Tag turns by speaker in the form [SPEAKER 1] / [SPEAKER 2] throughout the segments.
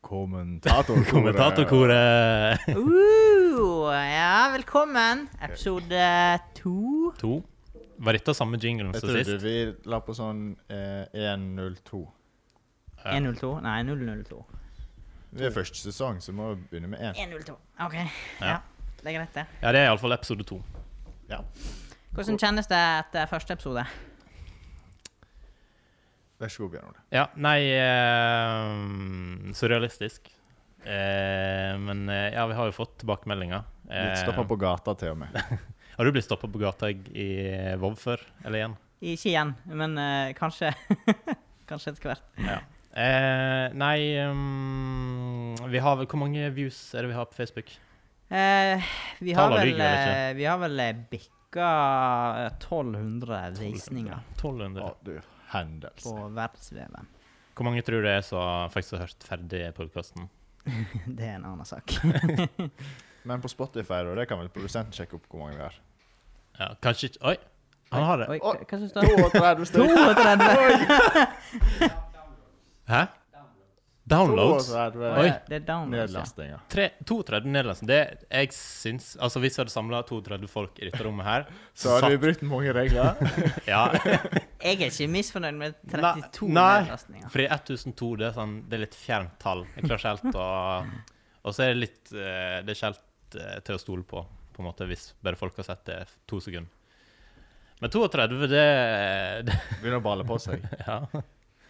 [SPEAKER 1] Kommentatorkoret.
[SPEAKER 2] Kommentatorkoret
[SPEAKER 3] Uh, ja, velkommen. Episode to.
[SPEAKER 2] to. Var dette samme jinglen
[SPEAKER 1] Jeg
[SPEAKER 2] som
[SPEAKER 1] trodde
[SPEAKER 2] sist?
[SPEAKER 1] vi la på sånn eh, 1.02.
[SPEAKER 2] Ja.
[SPEAKER 3] 102? Nei, 002.
[SPEAKER 1] Det er første sesong, så må vi begynne med 1.
[SPEAKER 3] 102. OK.
[SPEAKER 2] Ja.
[SPEAKER 3] Ja. Det er greit, det.
[SPEAKER 2] Ja, det er iallfall episode to.
[SPEAKER 1] Ja.
[SPEAKER 3] Hvordan kjennes det etter første episode?
[SPEAKER 1] Vær så god, Bjørn Ole.
[SPEAKER 2] Ja, nei eh, Surrealistisk. Eh, men eh, ja, vi har jo fått tilbakemeldinger.
[SPEAKER 1] Litt
[SPEAKER 2] Eh,
[SPEAKER 1] stoppa på gata til og med.
[SPEAKER 2] Har du blitt stoppa på gata i i Vov før? Eller igjen?
[SPEAKER 3] Ikke igjen, men eh, kanskje. kanskje etter hvert.
[SPEAKER 1] Mm.
[SPEAKER 2] Ja. Eh, nei mm, Vi har vel Hvor mange views er det vi har på Facebook?
[SPEAKER 3] Eh, vi, har
[SPEAKER 2] Tallene
[SPEAKER 3] vel,
[SPEAKER 2] lyger, eller
[SPEAKER 3] eh, vi har vel eh, bikka eh, 1200 visninger
[SPEAKER 2] 1200.
[SPEAKER 1] Å, du. Hendelse.
[SPEAKER 3] på verdensveven.
[SPEAKER 2] Hvor mange tror du det er som faktisk har hørt ferdig podkasten?
[SPEAKER 3] Det er en annen sak.
[SPEAKER 1] Men på Spotify, da, det kan vel produsenten sjekke opp hvor mange vi har.
[SPEAKER 2] Ja, kanskje ikke Oi! Han har det.
[SPEAKER 3] Oi, hva hva syns du?
[SPEAKER 1] 32 stykker.
[SPEAKER 3] 32.
[SPEAKER 2] Hæ? Downloads?
[SPEAKER 1] 32
[SPEAKER 2] Oi.
[SPEAKER 3] Det er altså. downloads, ja.
[SPEAKER 1] Nedlastinger.
[SPEAKER 2] Tre, 32 nederlandsk. Det jeg syns Altså, hvis vi hadde samla 32 folk i dette rommet her
[SPEAKER 1] Så har du brutt mange regler.
[SPEAKER 2] satt- ja,
[SPEAKER 3] Jeg er ikke misfornøyd med 32
[SPEAKER 2] Nei.
[SPEAKER 3] nedlastninger.
[SPEAKER 2] Fordi 1002 det er, sånn, det er litt fjernt tall. Jeg klarer ikke helt å Og så er det litt eh, Det er ikke helt eh, til å stole på, på en måte, hvis bare folk har sett det to sekunder. Men 32, det, det
[SPEAKER 1] Begynner å balle på seg.
[SPEAKER 2] Ja.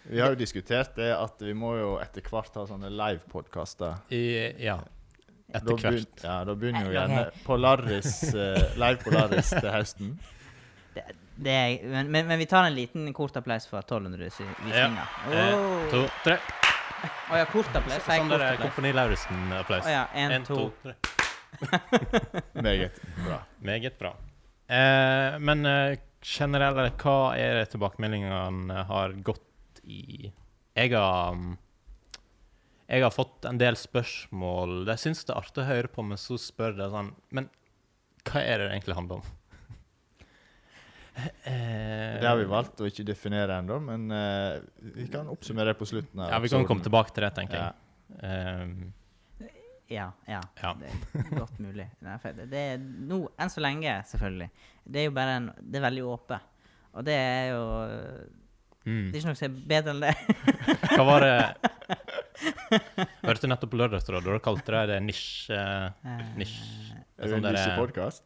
[SPEAKER 1] Vi har jo diskutert det at vi må jo etter hvert ha sånne live-podkaster.
[SPEAKER 2] I, ja.
[SPEAKER 1] Da
[SPEAKER 2] Etter
[SPEAKER 1] begyn-
[SPEAKER 2] hvert.
[SPEAKER 1] Ja, da begynner jo
[SPEAKER 3] Eh, ok.
[SPEAKER 1] gjerne Polaris, eh, live Polaris til høsten.
[SPEAKER 3] Det, det er, men, men, men vi tar en liten kort applaus for 1200 sy-
[SPEAKER 2] En,
[SPEAKER 3] visninger. Å
[SPEAKER 2] eh, to, tre.
[SPEAKER 3] ja, kort applaus. Sier jeg
[SPEAKER 2] Sånn
[SPEAKER 3] kort
[SPEAKER 2] der er
[SPEAKER 3] applaus.
[SPEAKER 2] Kompani Lauritzen-applaus.
[SPEAKER 3] Å ja, en,
[SPEAKER 2] En,
[SPEAKER 3] to.
[SPEAKER 2] to, tre.
[SPEAKER 1] Meget bra.
[SPEAKER 2] Meget bra. Eh, men eh, generelt, eller hva er det tilbakemeldingene har gått i? Jeg har, mm, jeg har fått en del spørsmål. De syns det er artig å høre på, men så spør de sånn Men hva er det det egentlig handler om? Eh,
[SPEAKER 1] Det har vi valgt å ikke definere ennå, men eh, vi kan oppsummere det på slutten. av
[SPEAKER 2] Ja, vi kan
[SPEAKER 1] episoden.
[SPEAKER 2] komme tilbake til det, tenker
[SPEAKER 1] Ja.
[SPEAKER 2] jeg. Eh,
[SPEAKER 3] Ja, ja.
[SPEAKER 2] Ja.
[SPEAKER 3] Det er godt mulig. Nei, for Det, det er nå, enn så lenge, selvfølgelig. Det er jo bare en Det er veldig åpent. Og det er jo Det
[SPEAKER 2] mm.
[SPEAKER 3] er ikke noe som er bedre enn det.
[SPEAKER 2] Hva var det Hørte nettopp på Lørdagsrådet, og da kalte de det nisje...
[SPEAKER 3] Eh,
[SPEAKER 2] Nisje
[SPEAKER 1] Er det en
[SPEAKER 2] Sånn der- eh,
[SPEAKER 1] nisjepodkast?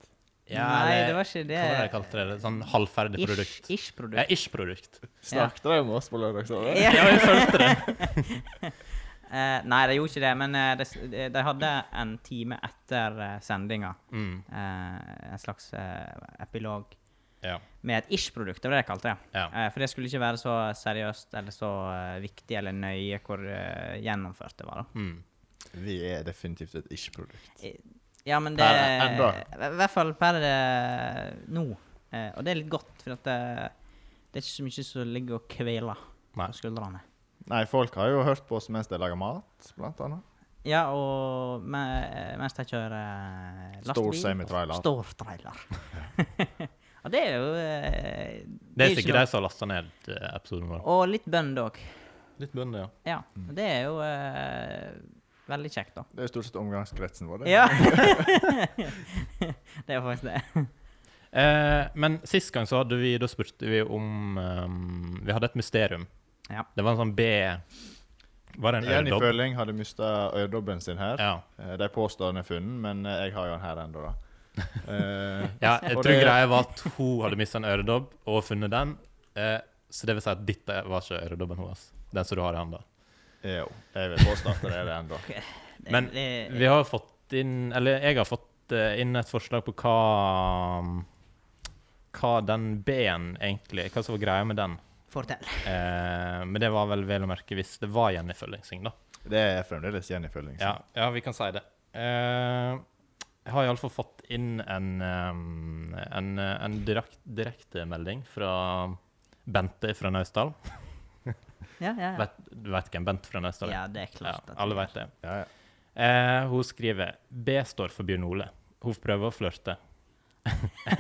[SPEAKER 3] Nei, det var
[SPEAKER 2] Hva
[SPEAKER 3] ikke
[SPEAKER 2] var det jeg
[SPEAKER 3] det.
[SPEAKER 2] kalte det? Sånn halvferdig produkt.
[SPEAKER 3] Ish- Ish-produkt.
[SPEAKER 2] Ja, Ish-produkt.
[SPEAKER 1] Snakket dere med oss på lørdag? sa dere?
[SPEAKER 3] Ja.
[SPEAKER 2] Ja, jeg følte det.
[SPEAKER 3] Eh, nei, de gjorde ikke det, men eh, de, s- de- de hadde en time etter uh, sendinga
[SPEAKER 2] Mm,
[SPEAKER 3] eh, en slags eh, epilog
[SPEAKER 2] ja.
[SPEAKER 3] med et ish-produkt. Det var det jeg kalte det.
[SPEAKER 2] Ja.
[SPEAKER 3] Eh, for det skulle ikke være så seriøst eller så eh, viktig eller nøye hvor eh, gjennomført det var. da.
[SPEAKER 2] Mm.
[SPEAKER 1] Vi er definitivt et ikke-produkt.
[SPEAKER 3] Ja, men det
[SPEAKER 1] Per enda.
[SPEAKER 3] I hvert fall per eh, nå. Eh, og det er litt godt, for at det, det er ikke så mye som ligger og kveler
[SPEAKER 2] Nei.
[SPEAKER 3] på skuldrene.
[SPEAKER 1] Nei, folk har jo hørt på oss mens de lager mat, blant annet.
[SPEAKER 3] Ja, og me- mens de kjører lastebil.
[SPEAKER 1] Stor semitrailer.
[SPEAKER 3] Stor trailer. og det er jo
[SPEAKER 2] Det
[SPEAKER 3] eh, jo
[SPEAKER 2] er
[SPEAKER 3] ikke
[SPEAKER 2] sikkert
[SPEAKER 3] noe-
[SPEAKER 2] de som har lasta ned eh, episoden vår.
[SPEAKER 3] Og litt bønn òg.
[SPEAKER 2] Litt bønner, ja.
[SPEAKER 3] Ja.
[SPEAKER 1] Mm.
[SPEAKER 3] Det er jo eh, veldig kjekt, da.
[SPEAKER 1] Det er jo stort sett omgangskretsen vår. det.
[SPEAKER 3] Ja. det er faktisk det.
[SPEAKER 2] Eh, men sist gang så hadde vi, da spurte vi om ehm, Vi hadde et mysterium.
[SPEAKER 3] Ja.
[SPEAKER 2] Det var en sånn B Var det en
[SPEAKER 1] Jenny
[SPEAKER 2] øredobb?
[SPEAKER 1] Følling hadde mista øredobben sin her.
[SPEAKER 2] Ja.
[SPEAKER 1] Eh, De påstår den er funnet, men eh, jeg har jo den her ennå, da. Eh,
[SPEAKER 2] ja. Jeg
[SPEAKER 1] Og
[SPEAKER 2] tror
[SPEAKER 1] det-
[SPEAKER 2] greia var at hun hadde mista en øredobb og funnet den. Eh, så det vil si at dette var ikke øredobben hennes. Den som du har i handa.
[SPEAKER 1] jo, jeg vil påstå at det er det ennå.
[SPEAKER 3] det
[SPEAKER 2] Men
[SPEAKER 3] det-
[SPEAKER 2] Vi har fått inn Eller jeg har fått eh, inn et forslag på hva Hva den B-en egentlig Hva som var greia med den.
[SPEAKER 3] Fortell.
[SPEAKER 2] Eh, men det var vel vel å merke hvis det var Jenny Føllingsing, da.
[SPEAKER 1] Det er fremdeles Jenny Følling.
[SPEAKER 2] Ja, ja vi kan si det. Eh, jeg har iallfall fått inn en, um, en, en direkt, direktemelding fra Bente fra Naustdal.
[SPEAKER 3] Ja, ja, ja.
[SPEAKER 2] Vet- Du vet hvem Bente fra Naustdal er?
[SPEAKER 3] ja, det er klart. at
[SPEAKER 2] ja, alle
[SPEAKER 3] det-
[SPEAKER 2] vet det.
[SPEAKER 1] Ja, ja.
[SPEAKER 2] Eh, hun skriver B står for Bjørn Ole. Hun prøver å flørte.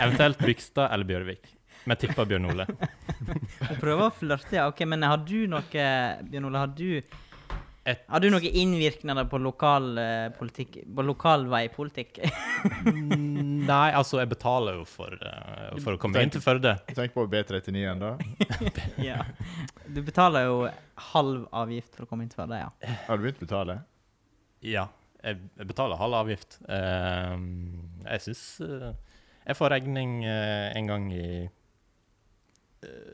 [SPEAKER 2] Eventuelt Bygstad eller Bjørvik. Men tipper Bjørn Ole.
[SPEAKER 3] Hun prøver å flørte, ja. ok, Men har du noe Bjørn Ole, har du
[SPEAKER 2] Et-
[SPEAKER 3] Har du noen innvirkninger på lokal eh, politikk På lokal veipolitikk?
[SPEAKER 2] Nei, altså, jeg betaler jo for, eh, for å komme inn til Førde.
[SPEAKER 1] Tenk på B39 ennå.
[SPEAKER 3] ja. Du betaler jo halv avgift for å komme inn til Førde, ja.
[SPEAKER 1] Har du begynt å betale?
[SPEAKER 2] Ja, jeg, jeg betaler halv avgift. Eh, jeg syns Jeg får regning eh, en gang i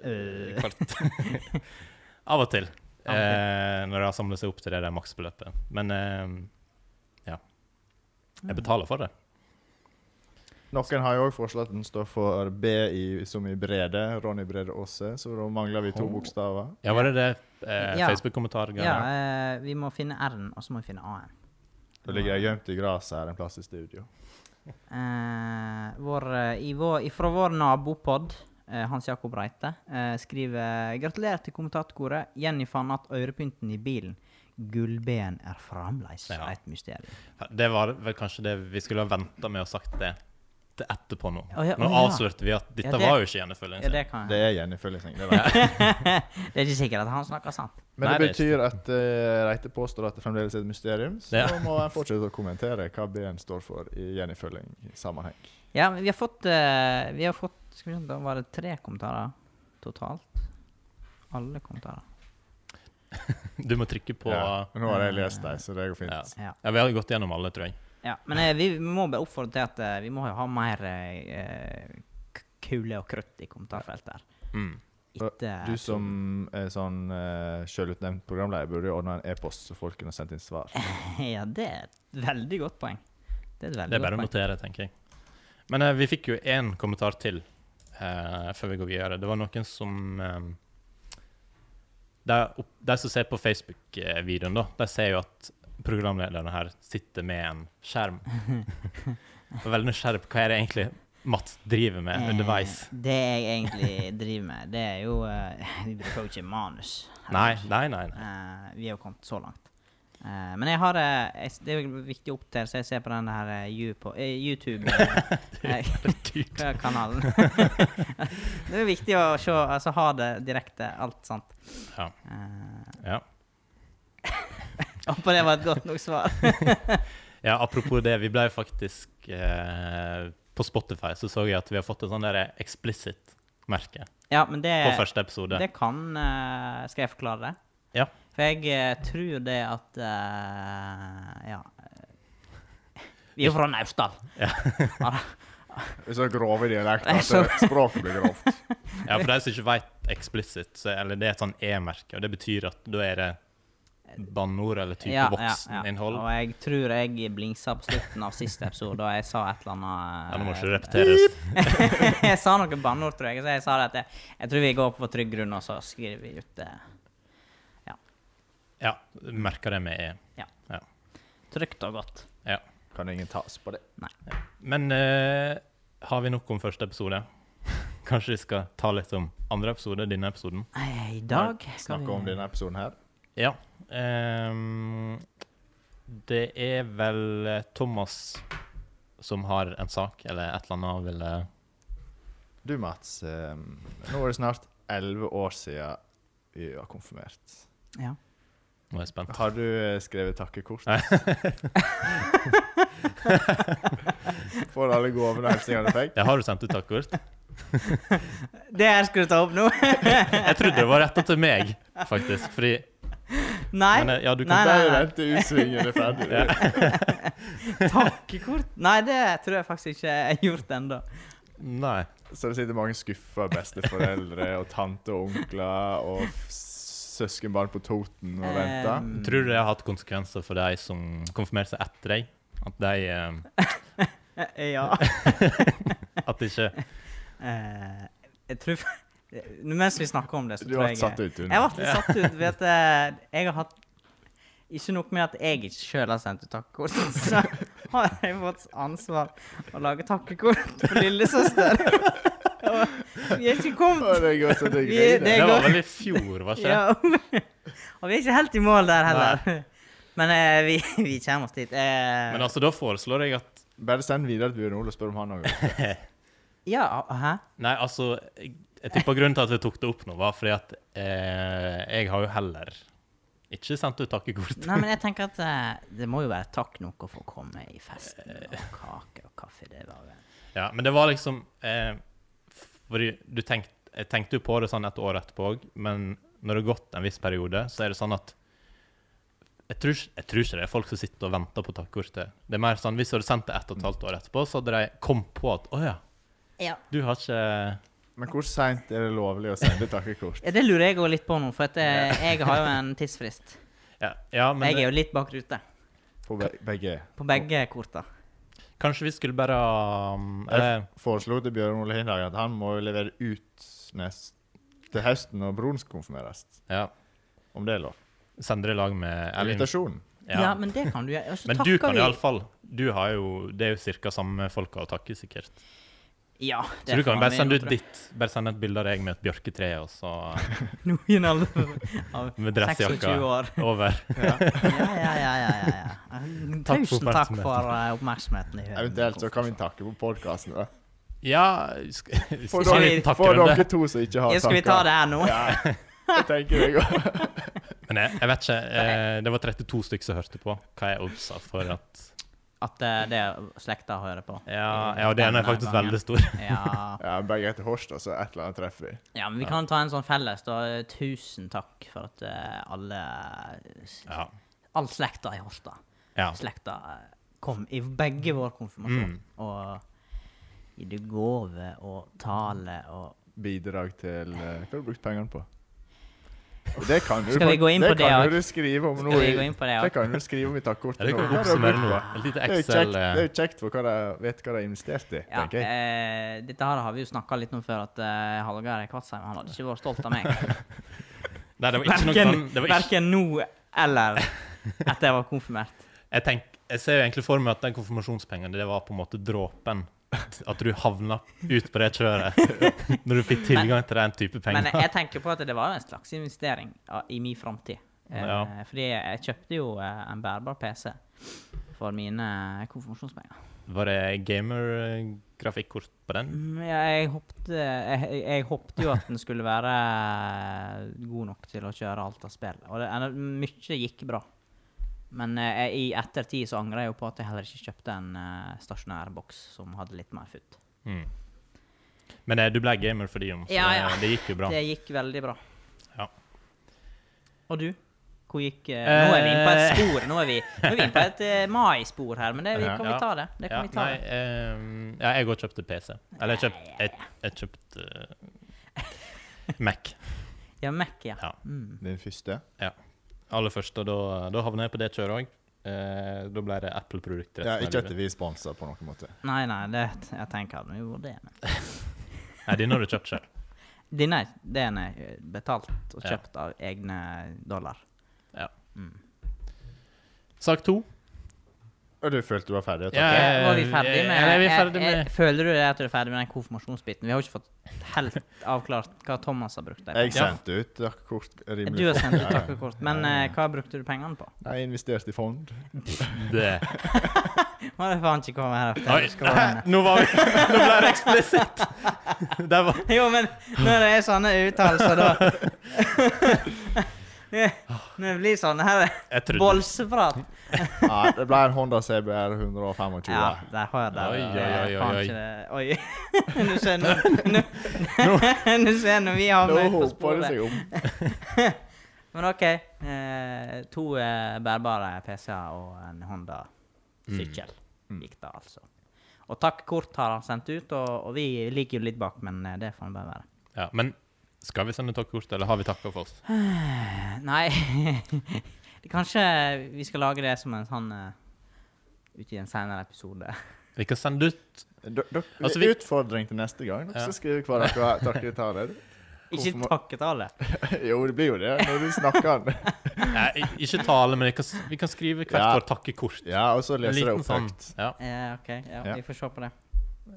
[SPEAKER 2] eh, kvart. Av og til.
[SPEAKER 3] Av og til.
[SPEAKER 2] eh, når det har samlet seg opp til det der maksbeløpet. Men eh, ja.
[SPEAKER 3] Ah.
[SPEAKER 2] Jeg betaler for det.
[SPEAKER 1] Noen har jo òg foreslått at den står for B i, som i Brede. Ronny Brede Aase. Så da mangler vi to bokstaver.
[SPEAKER 2] Ja, var det det eh,
[SPEAKER 3] Ja.
[SPEAKER 2] Facebook-kommentar?
[SPEAKER 3] ja eh, vi må finne R-en, og så må vi finne A-en.
[SPEAKER 1] Da ligger jeg gjemt i gresset her en plass i studio.
[SPEAKER 3] Eh, vår, eh, i vår, ifra vår nabopod, eh, Hans Jakob Reite, eh, skriver Gratulerer til kommentatorkoret. Jenny fant att ørepynten i bilen. Gullben er fremdeles
[SPEAKER 2] Ja.
[SPEAKER 3] et mysterium.
[SPEAKER 2] Det var vel kanskje det vi skulle ha venta med å sagt det til etterpå nå.
[SPEAKER 3] Å ja, å
[SPEAKER 2] nå
[SPEAKER 3] ja.
[SPEAKER 2] avslørte vi at dette
[SPEAKER 3] Ja, det-
[SPEAKER 2] var jo ikke Jenny Følling
[SPEAKER 3] Ja,
[SPEAKER 2] sin.
[SPEAKER 3] det kan
[SPEAKER 1] Det er
[SPEAKER 3] jeg.
[SPEAKER 1] Jenny Føllingseng. Det vet jeg.
[SPEAKER 3] Det er ikke sikkert at han snakker sant.
[SPEAKER 1] Men
[SPEAKER 2] Nei,
[SPEAKER 1] det
[SPEAKER 2] det er
[SPEAKER 1] betyr at eh, Reite påstår at det fremdeles er et mysterium. Så
[SPEAKER 2] Ja.
[SPEAKER 1] da må en fortsette å kommentere hva B-en står for i Jenny Følling-sammenheng.
[SPEAKER 3] Ja, men vi har fått, eh, vi har fått skal vi se, Da var det tre kommentarer totalt. Alle kommentarer.
[SPEAKER 2] Du må trykke på
[SPEAKER 1] Ja. Nå har jeg lest dem, så det går fint.
[SPEAKER 2] Ja.
[SPEAKER 3] Ja.
[SPEAKER 2] Ja, vi har gått gjennom alle, tror jeg.
[SPEAKER 3] Ja, men eh, vi må bare oppfordre til at eh, vi må jo ha mer eh, eh, k- kule og krutt i kommentarfeltet her.
[SPEAKER 2] Mm.
[SPEAKER 3] Etter-
[SPEAKER 1] Eh, Du som er sånn uh, sjølutnevnt programleder, burde jo ordne en e-post så folk kunne sendt inn svar.
[SPEAKER 3] Ja, det er et veldig godt poeng. Det er et veldig
[SPEAKER 2] Det er bare å
[SPEAKER 3] godt poeng.
[SPEAKER 2] notere, tenker jeg. Men eh, vi fikk jo én kommentar til eh, før vi går videre. Det var noen som eh, de, opp, de som ser på Facebook-videoen, da, de ser jo at programlederne her sitter med en skjerm. Jeg er veldig nysgjerrig på hva er det egentlig Mats driver med underveis.
[SPEAKER 3] Eh, Det jeg egentlig driver med, det er jo eh, Vi bruker jo ikke manus. her.
[SPEAKER 2] Nei, nei, nei. nei.
[SPEAKER 3] Eh, vi er jo kommet så langt. Eh, men jeg har eh, jeg, s- Det er jo en viktig oppdatering, så jeg ser på den her eh, You på- eh, YouTube-kanalen. det er jo viktig å se, altså ha det direkte, alt sant.
[SPEAKER 2] Ja.
[SPEAKER 3] Eh,
[SPEAKER 2] Ja.
[SPEAKER 3] Håper det var et godt nok svar.
[SPEAKER 2] Ja, apropos det, vi ble jo faktisk eh, På Spotify så så jeg at vi har fått et sånn der explicit-merke
[SPEAKER 3] ja, men det
[SPEAKER 2] på første episode.
[SPEAKER 3] Det kan eh, Skal jeg forklare det?
[SPEAKER 2] Ja.
[SPEAKER 3] For jeg eh, tror det at eh, Ja. Vi er jo fra Naustdal.
[SPEAKER 1] Det er så grove dialekter at språket blir grovt.
[SPEAKER 2] Ja, for de som ikke vet explicit, så, eller det er et sånn e-merke, og det betyr at da er det banneord eller type
[SPEAKER 3] Ja, ja, ja.
[SPEAKER 2] vokseninnhold.
[SPEAKER 3] Og jeg tror jeg blingsa på slutten av siste episode, og jeg sa et eller annet eh,
[SPEAKER 2] Ja, nå må ikke det repeteres.
[SPEAKER 3] Jeg sa noen banneord, tror jeg. Så jeg sa det at jeg, jeg tror vi går på trygg grunn, og så skriver vi ut eh, det.
[SPEAKER 2] Ja, merker det med e.
[SPEAKER 3] Trygt og godt.
[SPEAKER 2] Ja.
[SPEAKER 1] Kan ingen tas på det.
[SPEAKER 2] Men eh, har vi nok om første episode? Kanskje vi skal ta litt om andre episode, denne episoden?
[SPEAKER 3] Nei, I dag skal
[SPEAKER 1] Snakke
[SPEAKER 3] vi-
[SPEAKER 1] om denne episoden her.
[SPEAKER 2] Ja. ehm, det er vel eh, Thomas som har en sak, eller et eller annet han ville
[SPEAKER 1] Du Mats, eh, nå er det snart 11 år siden vi var konfirmert.
[SPEAKER 3] Ja.
[SPEAKER 2] Nå er jeg spent.
[SPEAKER 1] Har du eh, skrevet takkekort? For alle gavene og hilsningene du fikk?
[SPEAKER 2] Ja, har du sendt ut takkord?
[SPEAKER 3] Det her skulle du ta opp nå?
[SPEAKER 2] Jeg trodde det var retta til meg, faktisk. Fordi
[SPEAKER 3] Nei.
[SPEAKER 2] Men, eh, ja, du kan-
[SPEAKER 3] nei, nei,
[SPEAKER 1] Bare
[SPEAKER 3] nei.
[SPEAKER 1] vent til utsvingen er ferdig.
[SPEAKER 3] Takkekort? Nei, det tror jeg faktisk ikke jeg har gjort ennå.
[SPEAKER 2] Nei.
[SPEAKER 1] Så det sitter mange skuffa besteforeldre og tante og onkler og f- søskenbarn på Toten og venter.
[SPEAKER 3] Um,
[SPEAKER 2] Tror du det har hatt konsekvenser for de som konfirmerte seg etter deg? At de eh,
[SPEAKER 3] Eh, Ja.
[SPEAKER 2] At de ikke
[SPEAKER 3] Eh, jeg tror f- Mens vi snakker om det, så
[SPEAKER 1] Du
[SPEAKER 3] tror
[SPEAKER 1] har
[SPEAKER 3] jeg
[SPEAKER 1] satt ut
[SPEAKER 3] Jeg
[SPEAKER 1] under.
[SPEAKER 3] har vært satt ut ved at eh, jeg har hatt Ikke nok med at jeg ikke sjøl har sendt ut takkekort, så har jeg fått ansvar å lage takkekort for lillesøster. Og vi er ikke
[SPEAKER 1] Å,
[SPEAKER 3] kommet
[SPEAKER 1] det går så det
[SPEAKER 3] Vi-
[SPEAKER 1] griner.
[SPEAKER 3] det
[SPEAKER 2] Det var
[SPEAKER 3] går-
[SPEAKER 2] vel i fjor, var ikke det?
[SPEAKER 3] ja. Og vi er ikke helt i mål der heller. Men eh, vi, vi kommer oss dit. Eh,
[SPEAKER 2] Men altså, da foreslår jeg at
[SPEAKER 1] Bare send videre til Bjørn Ole og spør om han har noe.
[SPEAKER 3] ja, hæ?
[SPEAKER 2] Nei, altså Jeg, jeg tipper grunnen til at vi tok det opp nå, var fordi at eh, jeg har jo heller Ikke sendt ut takkekort.
[SPEAKER 3] Nei, men jeg tenker at eh, det må jo være takk nok å få komme i festen.
[SPEAKER 2] Eh.
[SPEAKER 3] Og kake og kaffe, det var vel
[SPEAKER 2] Ja, men det var liksom eh, Fordi du tenkte Jeg tenkte jo på det sånn et år etterpå òg, men når det har gått en viss periode, så er det sånn at jeg tror, ikke- jeg tror ikke det er folk som sitter og venter på takkortet. Det er mer sånn, Hvis du hadde sendt det ett og et halvt år etterpå, så hadde de kommet på at å ja,
[SPEAKER 3] Ja.
[SPEAKER 2] du har ikke
[SPEAKER 1] Men hvor seint er det lovlig å sende takkekort?
[SPEAKER 3] Det lurer jeg òg litt på nå, for at eh, jeg har jo en tidsfrist.
[SPEAKER 2] Ja, ja men
[SPEAKER 3] Jeg er
[SPEAKER 2] det,
[SPEAKER 3] jo litt bak rute
[SPEAKER 1] På be begge.
[SPEAKER 3] på begge korta.
[SPEAKER 2] kanskje vi skulle bare um,
[SPEAKER 1] Jeg
[SPEAKER 2] eller,
[SPEAKER 1] foreslo til Bjørn Ole Hindhagen at han må jo levere ut nest til høsten når broren skal konfirmeres.
[SPEAKER 2] ja,
[SPEAKER 1] Om det er lov.
[SPEAKER 2] Sende det i lag med Elin.
[SPEAKER 1] Invitasjonen.
[SPEAKER 3] Ja.
[SPEAKER 2] Ja.
[SPEAKER 3] men det kan du gjøre. Og så
[SPEAKER 2] Men
[SPEAKER 3] takker
[SPEAKER 2] du kan
[SPEAKER 3] vi-
[SPEAKER 2] iallfall Det er jo ca. samme folka å takke, sikkert.
[SPEAKER 3] Ja,
[SPEAKER 2] Så du kan bare sende ut
[SPEAKER 3] ditt
[SPEAKER 2] ditt. Bare sende et bilde av deg med et bjørketre og så
[SPEAKER 3] Noen alder av
[SPEAKER 2] med
[SPEAKER 3] 26
[SPEAKER 2] dressjakka
[SPEAKER 3] år.
[SPEAKER 2] over.
[SPEAKER 3] Ja, ja, ja. ja, ja, ja.
[SPEAKER 2] Takk for
[SPEAKER 3] Tusen takk
[SPEAKER 2] oppmerksomheten.
[SPEAKER 3] for eh, oppmerksomheten. i hølen.
[SPEAKER 1] Eventuelt så kan vi takke på podkasten.
[SPEAKER 2] Ja sk
[SPEAKER 1] For,
[SPEAKER 2] Skal vi
[SPEAKER 3] dere-
[SPEAKER 2] takke
[SPEAKER 1] for
[SPEAKER 2] runde?
[SPEAKER 1] dere to som ikke har
[SPEAKER 3] Ja, skal vi ta det her nå?
[SPEAKER 1] Ja, det tenker jeg òg.
[SPEAKER 2] Men jeg, jeg vet ikke. Eh, det var 32 stykker som hørte på. Hva er oddsa for at
[SPEAKER 3] At eh, det er slekta hører på.
[SPEAKER 2] Ja, ja den er faktisk veldig stor.
[SPEAKER 3] Ja.
[SPEAKER 1] Ja, begge heter Horst, og så et eller annet treffer vi.
[SPEAKER 3] ja, men vi kan ta en sånn felles, da. Tusen takk for at eh, alle s-
[SPEAKER 2] Ja.
[SPEAKER 3] All slekta i Holta.
[SPEAKER 2] ja.
[SPEAKER 3] Slekta eh, kom i begge vår
[SPEAKER 2] Mm.
[SPEAKER 3] konfirmasjon. Og gir du gave og tale og
[SPEAKER 1] Bidrag til eh, Hva har du brukt pengene på? Det kan du,
[SPEAKER 3] Skal vi
[SPEAKER 1] fakt-
[SPEAKER 3] gå inn på det
[SPEAKER 1] kan
[SPEAKER 3] også?
[SPEAKER 1] du skrive om nå.
[SPEAKER 3] Skal vi
[SPEAKER 1] i-
[SPEAKER 3] gå inn på det også?
[SPEAKER 1] det kan du skrive om i takkortet.
[SPEAKER 2] Ja, det
[SPEAKER 1] nå. Hva har du
[SPEAKER 2] kan vi oppsummere
[SPEAKER 1] brukt
[SPEAKER 2] nå.
[SPEAKER 1] på?
[SPEAKER 2] Et lite
[SPEAKER 1] Det er jo
[SPEAKER 2] Excel
[SPEAKER 1] kjekt, det er
[SPEAKER 2] eh,
[SPEAKER 1] jo kjekt for hva de vet hva de har investert i,
[SPEAKER 3] Ja,
[SPEAKER 1] tenker jeg.
[SPEAKER 3] eh, dette her har vi jo snakka litt om før, at eh, Hallgeir Kvatsheim han hadde ikke vært stolt av meg.
[SPEAKER 2] Nei, det var ikke noe
[SPEAKER 3] Verken,
[SPEAKER 2] sånn det var ikke,
[SPEAKER 3] verken nå eller etter jeg var konfirmert.
[SPEAKER 2] jeg, tenk, jeg ser jo egentlig for meg at den konfirmasjonspengene, det var på en måte dråpen. At du havna ut på det kjøret når du fikk tilgang til den type
[SPEAKER 3] Men
[SPEAKER 2] penger.
[SPEAKER 3] jeg tenker på at det var en slags investering ah, i min framtid. Eh,
[SPEAKER 2] Ja.
[SPEAKER 3] Fordi jeg kjøpte jo eh, en bærbar PC for mine eh, konfirmasjonspenger.
[SPEAKER 2] Var det gamer-grafikkort på den?
[SPEAKER 3] Mm, Jeg håpte, jeg, jeg håpte jo at den skulle være god nok til å kjøre alt av spill. Og det, eller, mye gikk bra. Men eh, i ettertid så angrer jeg jo på at jeg heller ikke kjøpte en eh, stasjonær boks som hadde litt mer futt.
[SPEAKER 2] Mm. Men eh, du ble gamer for de om, så
[SPEAKER 3] Ja, ja.
[SPEAKER 2] det- det gikk jo bra.
[SPEAKER 3] Det gikk veldig bra.
[SPEAKER 2] Ja.
[SPEAKER 3] Og du? Hvor gikk eh, Nå er vi inne på et spor. Nå er vi, nå er vi inne på et eh, mai-spor her, men det vi,
[SPEAKER 1] Ja.
[SPEAKER 3] kan vi ta det.
[SPEAKER 2] ja,
[SPEAKER 3] Det kan vi ta
[SPEAKER 2] nei,
[SPEAKER 3] det.
[SPEAKER 2] ehm, ja, jeg òg kjøpte PC. Eller jeg kjøpte jeg, jeg kjøpte eh, Mac.
[SPEAKER 3] Ja, Mac, ja.
[SPEAKER 2] Ja.
[SPEAKER 3] Mm.
[SPEAKER 1] Din første?
[SPEAKER 2] Aller først, og da, da havna jeg på det kjøret òg. Eh, da ble det Apple-produkter.
[SPEAKER 1] Ja, ikke at vi er sponsa på noen måte.
[SPEAKER 3] Nei, nei, det, jeg tenker at vi gjorde det. Men.
[SPEAKER 2] Nei, denne har du kjøpt sjøl.
[SPEAKER 3] Denne den er eh, betalt og
[SPEAKER 2] Ja.
[SPEAKER 3] kjøpt av egne dollar. Mm.
[SPEAKER 2] Sak to.
[SPEAKER 1] Og du følte du var ferdig? å takke?
[SPEAKER 2] Ja,
[SPEAKER 3] Eh, Var vi
[SPEAKER 2] eh,
[SPEAKER 3] ferdig med,
[SPEAKER 2] eller er vi ferdig
[SPEAKER 3] eh, eh,
[SPEAKER 2] med-
[SPEAKER 3] Føler du det at du er ferdig med den konfirmasjonsbiten? Vi har jo ikke fått helt avklart hva Thomas har brukt. der
[SPEAKER 1] Jeg
[SPEAKER 3] på.
[SPEAKER 2] Ja.
[SPEAKER 1] sendte ut takkekort rimelig
[SPEAKER 3] Du har sendt ut
[SPEAKER 1] Ja, ja.
[SPEAKER 3] takkekort, men eh, hva brukte du pengene på?
[SPEAKER 1] Jeg investerte i fond.
[SPEAKER 2] Det.
[SPEAKER 3] Må jeg faen ikke komme her
[SPEAKER 2] Oi,
[SPEAKER 3] og skråle.
[SPEAKER 2] nå, var vi, nå ble det eksplisitt! Der var
[SPEAKER 3] Jo, men når det er sånne uttalelser, da Når det blir sånn her
[SPEAKER 2] Jeg trodde
[SPEAKER 3] Bolseprat.
[SPEAKER 1] Nei, det ble en Honda CBR 125.
[SPEAKER 3] Ja, der har jeg det.
[SPEAKER 2] Oi, oi, oi, oi, oi.
[SPEAKER 3] oi. Oi. Nå ser nå nå- Nå ser når vi har
[SPEAKER 1] Nå
[SPEAKER 3] møtt på
[SPEAKER 1] hoper det
[SPEAKER 3] sporet.
[SPEAKER 1] seg om.
[SPEAKER 3] Men OK. Eh, to eh, bærbare PC-er og en Honda-sykkel gikk da, altså. Og takkekort har han sendt ut, og, og vi ligger jo litt bak, men eh, det får nå bare være.
[SPEAKER 2] ja, Men skal vi sende takkekort, eller har vi takka for oss?
[SPEAKER 3] Nei Det- Kanskje vi skal lage det som en sånn eh, Ut i en senere episode.
[SPEAKER 2] Vi kan sende ut
[SPEAKER 1] D- d-
[SPEAKER 2] Altså, vi-
[SPEAKER 1] Utfordring til neste gang. Dere
[SPEAKER 2] Ja.
[SPEAKER 1] skal skrive hva dere har takketaler.
[SPEAKER 3] Ikke
[SPEAKER 1] Hvorfor må-
[SPEAKER 3] takketale.
[SPEAKER 1] Jo, det blir jo det når du snakker den.
[SPEAKER 2] Nei, ikke tale, men vi kan, vi kan skrive hvert
[SPEAKER 1] Ja.
[SPEAKER 2] vårt takkekort.
[SPEAKER 1] Ja, og så
[SPEAKER 2] En
[SPEAKER 1] leser jeg
[SPEAKER 2] liten
[SPEAKER 1] opp
[SPEAKER 2] sånn.
[SPEAKER 1] høyt.
[SPEAKER 2] Ja.
[SPEAKER 3] Eh, OK, ja,
[SPEAKER 1] Ja.
[SPEAKER 3] vi får se på det.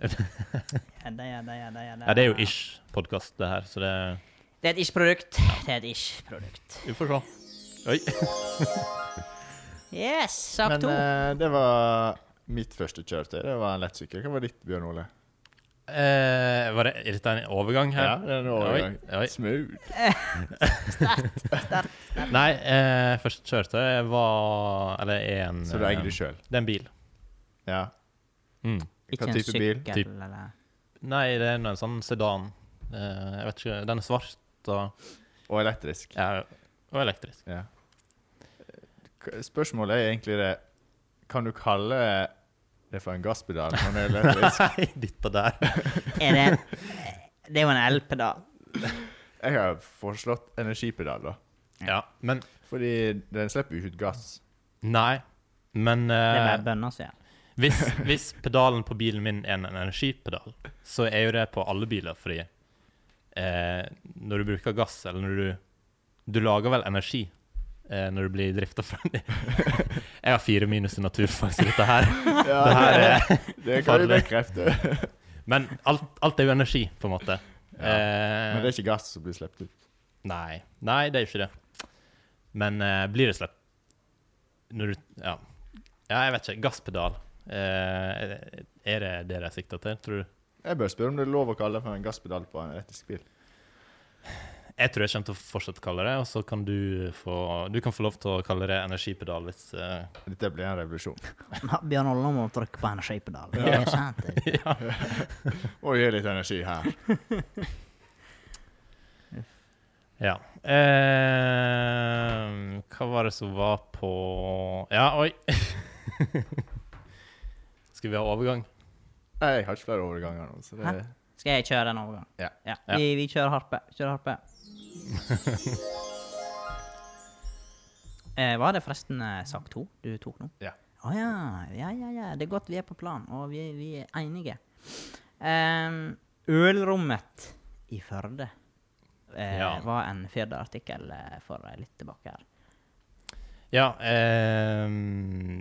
[SPEAKER 3] Edda, edda, edda, edda.
[SPEAKER 2] ja, det er jo ish-podkast, det her, så det
[SPEAKER 3] Det er et ish-produkt. Det er et ish-produkt.
[SPEAKER 2] Vi får se. Oi.
[SPEAKER 3] Yes, sak
[SPEAKER 1] Men
[SPEAKER 3] to.
[SPEAKER 1] eh, det var mitt første kjøretøy. Det var en lettsykkel. Hva var ditt, Bjørn Ole?
[SPEAKER 2] Eh, var det, er dette en overgang her?
[SPEAKER 1] Ja, det er en overgang.
[SPEAKER 2] Oi, oi.
[SPEAKER 1] Smooth.
[SPEAKER 2] Nei, eh, førstekjørte var Eller er en
[SPEAKER 1] Så du eier
[SPEAKER 2] eh,
[SPEAKER 1] det sjøl?
[SPEAKER 2] Det er en bil.
[SPEAKER 1] Ja.
[SPEAKER 2] Mm.
[SPEAKER 3] Ikke
[SPEAKER 1] Hva
[SPEAKER 3] en
[SPEAKER 1] type
[SPEAKER 3] sykkel
[SPEAKER 1] bil?
[SPEAKER 2] Typ-
[SPEAKER 3] eller
[SPEAKER 2] Nei, det er nå en sånn sedan. Eh, jeg vet ikke Den er svart og,
[SPEAKER 1] Og elektrisk.
[SPEAKER 2] ja, og elektrisk.
[SPEAKER 1] Ja. K- Spørsmålet er egentlig det Kan du kalle det for en gasspedal når det er elektrisk?
[SPEAKER 2] Nei, dette der.
[SPEAKER 3] Er det Det er jo en LP, da.
[SPEAKER 1] Jeg har foreslått energipedal, da.
[SPEAKER 2] Ja, men
[SPEAKER 1] Fordi den slipper jo ikke ut gass.
[SPEAKER 2] Nei. Men
[SPEAKER 3] Det er bare
[SPEAKER 2] eh,
[SPEAKER 3] bønner som gjør det.
[SPEAKER 2] hvis, hvis pedalen på bilen min er en energipedal, så er jo det på alle biler, fordi eh, når du bruker gass, eller når du Du lager vel energi eh, når du blir drifta ferdig? Jeg har fire minus i naturfag, så dette her
[SPEAKER 1] Ja,
[SPEAKER 2] det her er
[SPEAKER 1] det kan du
[SPEAKER 2] farlig.
[SPEAKER 1] bekrefte.
[SPEAKER 2] Men alt, alt er jo energi, på en måte.
[SPEAKER 1] Men det
[SPEAKER 2] Eh,
[SPEAKER 1] er ikke gass som blir sluppet ut.
[SPEAKER 2] nei. nei, det er jo ikke det. Men eh, blir det sluppet Når du ja. ja, jeg vet ikke. Gasspedal. Eh, er det det de sikter til, tror du?
[SPEAKER 1] Jeg bør spørre om det er lov å kalle det for en gasspedal på en elektrisk bil.
[SPEAKER 2] Jeg tror jeg kommer til å fortsette å kalle det, og så kan du få Du kan få lov til å kalle det energipedal hvis eh,
[SPEAKER 1] Dette blir en revolusjon.
[SPEAKER 3] Nå, Bjørn Olle må trykke på energipedal. Det er sant. det.
[SPEAKER 2] Ja.
[SPEAKER 1] Må gi litt energi her.
[SPEAKER 2] ja. Eh, hva var det som var på Ja, oi! Skal vi ha overgang?
[SPEAKER 1] Nei, jeg har ikke flere overganger nå, så det
[SPEAKER 3] Hæ? Skal jeg kjøre en overgang?
[SPEAKER 1] Ja.
[SPEAKER 2] Ja.
[SPEAKER 3] Vi, vi kjører harpe. Kjører harpe. eh, var det forresten eh, sak to du tok nå?
[SPEAKER 1] Ja.
[SPEAKER 3] Å ja. Ja, ja, ja. Det er godt vi er på plan, og vi, vi er enige. Ehm, ølrommet i Førde eh,
[SPEAKER 2] Ja.
[SPEAKER 3] var en Firda-artikkel eh, for eh, litt tilbake her.
[SPEAKER 2] Ja, eh,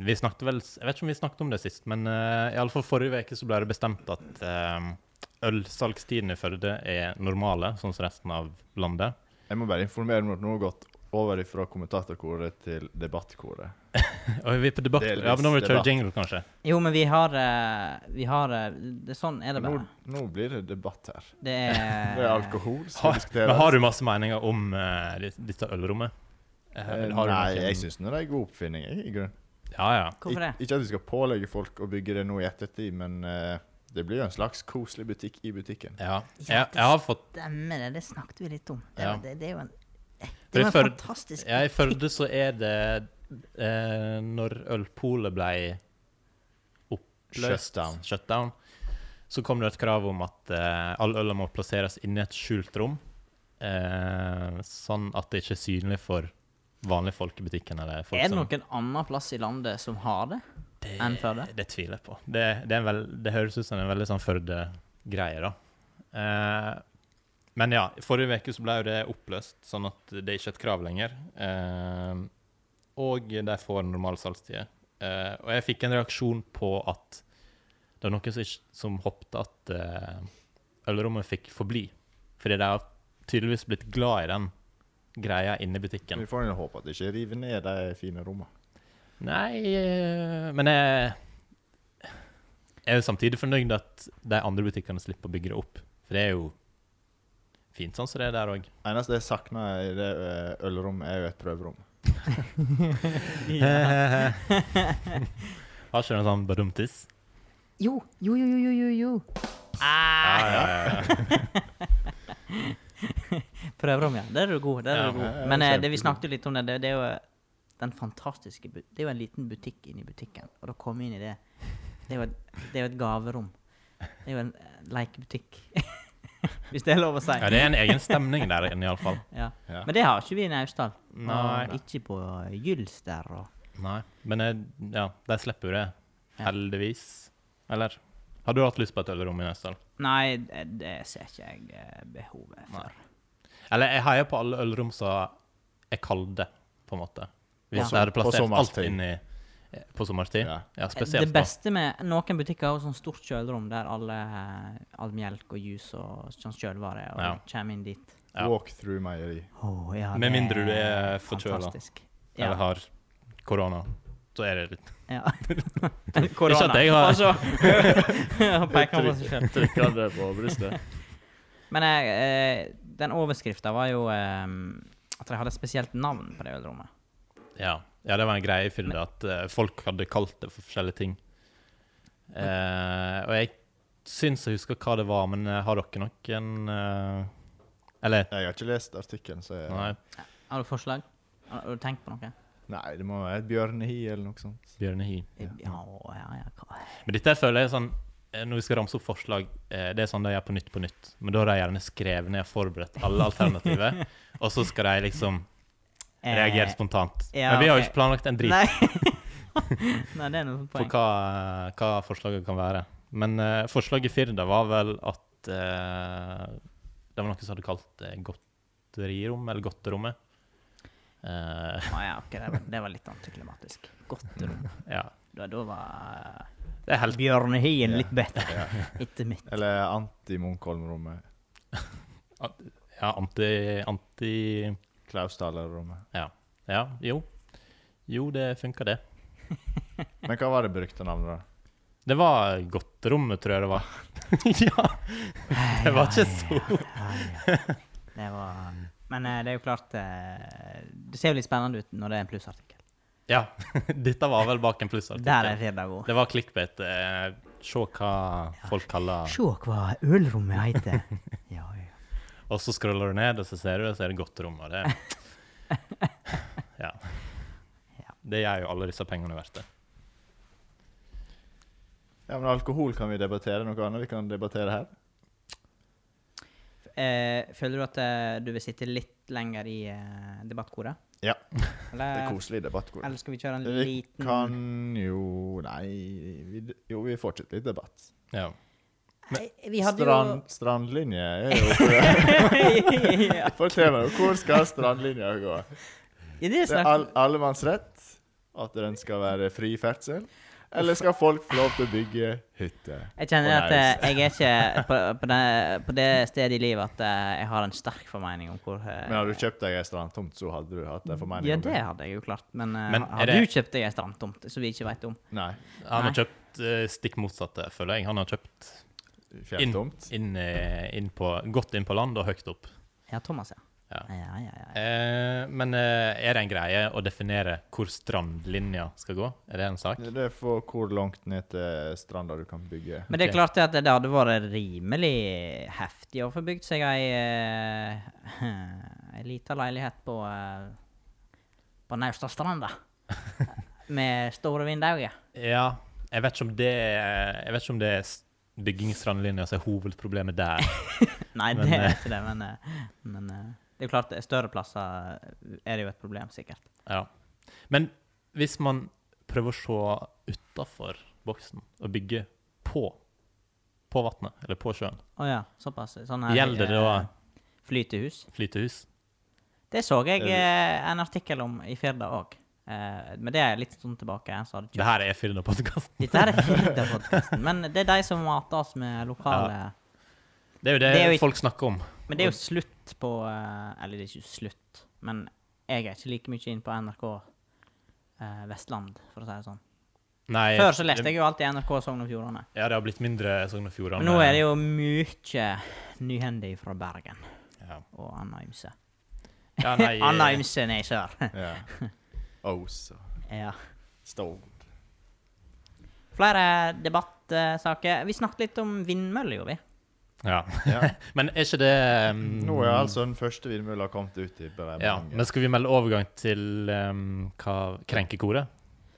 [SPEAKER 2] vi snakket vel Jeg vet ikke om vi snakket om det sist, men eh, i alle fall forrige uke så ble det bestemt at eh, ølsalgstiden i Førde er normale, sånn som resten av landet.
[SPEAKER 1] Jeg må bare informere om at nå har gått over fra kommentatorkoret til debattkoret.
[SPEAKER 2] Og vi er på debatt.
[SPEAKER 1] Delvis
[SPEAKER 2] Ja, men nå må vi kjøre
[SPEAKER 1] debatt. jingle,
[SPEAKER 2] jingle, kanskje.
[SPEAKER 3] Jo, men vi har, eh, vi har eh, det, Sånn er det
[SPEAKER 1] Nå,
[SPEAKER 3] bare.
[SPEAKER 1] nå blir det debatt her.
[SPEAKER 3] Det er,
[SPEAKER 1] Det er alkohol som
[SPEAKER 2] Eh. Har,
[SPEAKER 1] diskuteres.
[SPEAKER 2] men har du masse meninger om eh, dit- dette ølrommet? Eh,
[SPEAKER 1] Eh,
[SPEAKER 2] eller har du
[SPEAKER 1] Nei,
[SPEAKER 2] noen-
[SPEAKER 1] jeg syns det er en god oppfinning. Jeg, i grunnen.
[SPEAKER 2] Ja, ja.
[SPEAKER 3] Hvorfor det?
[SPEAKER 1] Ik- Ikke at vi skal pålegge folk å bygge det nå i ettertid, men eh, det blir jo en slags koselig butikk i butikken.
[SPEAKER 2] ja.
[SPEAKER 3] Ja,
[SPEAKER 2] Jeg, jeg har fått
[SPEAKER 3] Stemmer det, det snakket vi litt om. Det,
[SPEAKER 2] Ja.
[SPEAKER 3] det, det er jo en,
[SPEAKER 2] For
[SPEAKER 3] det er
[SPEAKER 2] i
[SPEAKER 3] jo en
[SPEAKER 2] Førde-
[SPEAKER 3] fantastisk
[SPEAKER 2] Ja, i Førde så er det eh, Når ølpolet ble oppløst
[SPEAKER 1] Shutdown.
[SPEAKER 2] shutdown, så kom det et krav om at eh, all øl må plasseres inni et skjult rom. Eh, sånn at det ikke er synlig for vanlige folk i butikken. Eller folk
[SPEAKER 3] Er det
[SPEAKER 2] som-
[SPEAKER 3] noen annen plass i landet som har det enn Førde?
[SPEAKER 2] Det tviler jeg på. Det, det, er en veld, det høres ut som en veldig sånn Førde-greie, da. Eh, men ja, forrige uke så ble jo det oppløst, sånn at det er ikke et krav lenger. Eh, og de får normal salgstid. Eh, og jeg fikk en reaksjon på at det var noen som, ikke- som håpte at eh, ølrommet fikk forbli. Fordi de har tydeligvis blitt glad i den greia inne i butikken.
[SPEAKER 1] Vi får jo håpe at det ikke river ned de fine rommene.
[SPEAKER 2] Nei, eh, men jeg jeg er jo samtidig fornøyd at de andre butikkene slipper å bygge det opp. For det er jo fint sånn som det er der òg.
[SPEAKER 1] Eneste jeg savner i det eh, ølrommet, er jo et prøverom.
[SPEAKER 2] Har ikke du en sånn badumtis?
[SPEAKER 3] Jo, jo, jo, jo, jo, jo. Ah, prøverom, ja. Der er du god. Der er
[SPEAKER 2] Ja,
[SPEAKER 3] du god.
[SPEAKER 1] jeg er
[SPEAKER 3] Men eh, det
[SPEAKER 1] kjempegod.
[SPEAKER 3] vi snakket jo litt om det, det, det er jo eh, den fantastiske bu- Det er jo en liten butikk inni butikken, og da komme inn i det Det er jo et, det er jo et gaverom. Det er jo en eh, lekebutikk. Hvis det er lov å si.
[SPEAKER 2] Ja, det er en egen stemning der inne, iallfall.
[SPEAKER 3] Ja.
[SPEAKER 1] Ja.
[SPEAKER 3] Men det har ikke vi i Naustdal. Og
[SPEAKER 2] Nei.
[SPEAKER 3] Ikke på Gylster og
[SPEAKER 2] Nei. Men eh, ja, de slipper jo det.
[SPEAKER 3] Ja.
[SPEAKER 2] Heldigvis. Eller? Har du hatt lyst på et ølrom i Nøsdal?
[SPEAKER 3] Nei, det, det ser ikke jeg eh, behovet for.
[SPEAKER 2] Eller jeg heier på alle ølrom som er kalde, på en måte. Hvis
[SPEAKER 3] Ja.
[SPEAKER 2] jeg hadde
[SPEAKER 1] På
[SPEAKER 2] plassert alt
[SPEAKER 1] sommerstid.
[SPEAKER 2] inn i eh, På sommerstid? Ja,
[SPEAKER 1] Ja.
[SPEAKER 2] spesielt.
[SPEAKER 3] Eh, det beste med Noen butikker har jo sånn stort kjølerom der alle, eh, all melk og juice og sånn kjølevare og
[SPEAKER 2] Ja.
[SPEAKER 3] kommer inn dit.
[SPEAKER 2] Ja.
[SPEAKER 1] Walk through meieri.
[SPEAKER 3] Åh, ja,
[SPEAKER 2] Med
[SPEAKER 3] det
[SPEAKER 2] mindre du er forkjøla.
[SPEAKER 3] fantastisk.
[SPEAKER 2] da. Eller
[SPEAKER 3] Ja.
[SPEAKER 2] har korona. så er det litt
[SPEAKER 3] Ja.
[SPEAKER 2] Ikke at jeg har-
[SPEAKER 3] Altså, han peker på seg selv.
[SPEAKER 4] Trykker det på brystet.
[SPEAKER 3] Men jeg, eh, den overskrifta var jo eh, at de hadde et spesielt navn på det ølrommet.
[SPEAKER 2] Ja, ja det var en greie i Firda at eh, folk hadde kalt det for forskjellige ting. Eh, og jeg syns jeg husker hva det var, men eh, har dere noen eh, Eller
[SPEAKER 1] Jeg har ikke lest artikkelen, så jeg,
[SPEAKER 2] Nei,
[SPEAKER 3] Har du forslag? Har har du tenkt på noe?
[SPEAKER 1] Nei, det må være et bjørnehi eller noe sånt.
[SPEAKER 2] Bjørnehi.
[SPEAKER 3] Ja, ja, ja. hva-
[SPEAKER 2] Men dette føler jeg sånn eh, Når vi skal ramse opp forslag, eh, det er sånn de gjør på Nytt på nytt. Men da har de gjerne skrevet ned og forberedt alle alternativer, og så skal de liksom
[SPEAKER 3] Eh,
[SPEAKER 2] reagere spontant.
[SPEAKER 3] ja,
[SPEAKER 2] men vi har jo
[SPEAKER 3] ok.
[SPEAKER 2] ikke planlagt en drit
[SPEAKER 3] Nei. Nei, det er noe
[SPEAKER 2] for
[SPEAKER 3] poeng.
[SPEAKER 2] hva, hva forslaget kan være. Men eh, forslaget i Firda var vel at eh, Det var noen som hadde kalt det godterirom, eller godterommet. Eh,
[SPEAKER 3] Å, ja, ok, det, var- det var litt antiklimatisk. Godt rom.
[SPEAKER 2] ja.
[SPEAKER 3] Da, da var
[SPEAKER 2] Det er helt
[SPEAKER 3] bjørnehien
[SPEAKER 1] Ja.
[SPEAKER 3] litt bedre. Etter mitt.
[SPEAKER 1] Eller anti-Munkholm-rommet.
[SPEAKER 2] ja, anti, anti
[SPEAKER 1] Klausthaler-rommet.
[SPEAKER 2] Ja, jo. Jo, det funka, det.
[SPEAKER 1] Men hva var det brukte navnet, da?
[SPEAKER 2] Det var godterommet, tror jeg det var. ja, det var ikke så
[SPEAKER 3] Det var Men eh, det er jo klart eh, Det ser jo litt spennende ut når det er en plussartikkel.
[SPEAKER 2] Ja, dette var vel bak en
[SPEAKER 3] Der er
[SPEAKER 2] plussartikkel.
[SPEAKER 3] Firda god.
[SPEAKER 2] Det var clickbait. eh, Se hva folk kaller
[SPEAKER 3] Se hva ølrommet heter. Ja, ja.
[SPEAKER 2] Og så scroller du ned, og så ser du, og så er det godt rom. Og det Ja. Det gjør jo alle disse pengene verdt det.
[SPEAKER 1] Ja, men Alkohol kan vi debattere. Noe annet vi kan debattere her?
[SPEAKER 3] Eh, føler du at eh, du vil sitte litt lenger i eh, debattkoret?
[SPEAKER 1] Ja. Det er
[SPEAKER 3] Eller,
[SPEAKER 1] koselig debatt. Kåre.
[SPEAKER 3] eller skal vi kjøre Eh, en
[SPEAKER 1] Vi
[SPEAKER 3] liten
[SPEAKER 1] kan jo Nei, vi, jo, vi fortsetter litt debatt.
[SPEAKER 2] Ja.
[SPEAKER 3] Nei, Vi hadde jo
[SPEAKER 1] Strand, strandlinje er jo for-
[SPEAKER 3] ja.
[SPEAKER 1] Fortell meg, hvor skal strandlinja gå?
[SPEAKER 3] Ja, det
[SPEAKER 1] Det er
[SPEAKER 3] snakket
[SPEAKER 1] all, allemannsrett? At den skal være fri ferdsel? Eller skal folk få lov til å bygge hytter?
[SPEAKER 3] Jeg kjenner
[SPEAKER 1] Å,
[SPEAKER 3] at eh, jeg er ikke på, på, det, på det stedet i livet at eh, jeg har en sterk formening om hvor eh,
[SPEAKER 1] Men hadde du kjøpt deg ei strandtomt, så hadde du hatt en formening
[SPEAKER 3] Ja,
[SPEAKER 1] om
[SPEAKER 3] det hadde jeg jo klart. Men, eh,
[SPEAKER 2] Men
[SPEAKER 3] har-
[SPEAKER 2] er
[SPEAKER 3] har
[SPEAKER 2] det-
[SPEAKER 3] du kjøpt deg en strandtomt som vi ikke vet om?
[SPEAKER 1] Nei.
[SPEAKER 2] Han
[SPEAKER 3] Nei.
[SPEAKER 2] har kjøpt eh, stikk motsatte, føler jeg. Han har kjøpt inn,
[SPEAKER 1] Fjelltomt.
[SPEAKER 2] inn, eh, inn på, godt inn på land og høyt opp.
[SPEAKER 3] Ja, Thomas, ja.
[SPEAKER 2] Ja.
[SPEAKER 3] ja, ja, ja.
[SPEAKER 2] Eh, men eh, er det en greie å definere hvor strandlinja skal gå? Er det en sak?
[SPEAKER 1] Det er for hvor langt ned til stranda du kan bygge.
[SPEAKER 3] Men det er
[SPEAKER 2] Ok.
[SPEAKER 3] klart at det hadde vært rimelig heftig å få bygd seg ei, eh, ei lita leilighet på, eh, på Naustastranda. Med store vinduer.
[SPEAKER 2] Ja, jeg vet ikke om det, jeg vet ikke om det er s- bygging i strandlinja som er hovedproblemet der.
[SPEAKER 3] Nei,
[SPEAKER 2] Men,
[SPEAKER 3] det er
[SPEAKER 2] eh,
[SPEAKER 3] ikke det, men, eh, men eh, det er klart, eh, større plasser eh, er det jo et problem, sikkert.
[SPEAKER 2] Ja. Men hvis man prøver å se utafor boksen og bygge på på vannet, eller på sjøen,
[SPEAKER 3] Å ja, såpass. Sånn
[SPEAKER 2] gjelder det
[SPEAKER 3] eh,
[SPEAKER 2] da
[SPEAKER 3] Flytehus.
[SPEAKER 2] flytehus?
[SPEAKER 3] Det så jeg
[SPEAKER 1] Er det-
[SPEAKER 3] eh, en artikkel om i Firda òg. Men det er litt sånn tilbake. Så hadde
[SPEAKER 2] Det her er Firda-podkasten.
[SPEAKER 3] Dette her er Firda-podkasten, men det er de som mater oss med lokale
[SPEAKER 2] Det er jo det,
[SPEAKER 3] Det er jo ikke-
[SPEAKER 2] folk snakker om.
[SPEAKER 3] Men det er jo slutt på eh, Eller det er ikke slutt, men jeg er ikke like mye inn på NRK eh, Vestland, for å si det sånn.
[SPEAKER 2] Nei,
[SPEAKER 3] Før så leste jeg jo alltid NRK Sogn og Fjordane.
[SPEAKER 2] Ja, det har blitt mindre Sogn og Fjordane.
[SPEAKER 3] Men nå er det jo mye nyhender fra Bergen
[SPEAKER 2] Ja,
[SPEAKER 3] og Anna Ymse.
[SPEAKER 2] ja nei,
[SPEAKER 3] Anna Ymse ned i sør.
[SPEAKER 1] Ja. Os og
[SPEAKER 3] ja.
[SPEAKER 1] Stord.
[SPEAKER 3] Flere debattsaker. Vi snakket litt om vindmøller, gjorde vi.
[SPEAKER 2] Ja.
[SPEAKER 1] Ja.
[SPEAKER 2] Men er ikke det mm,
[SPEAKER 1] Nå er altså den første vindmølla kommet ut i Bremanger.
[SPEAKER 2] ja, Men skal vi melde overgang til um, hva, krenkekoret?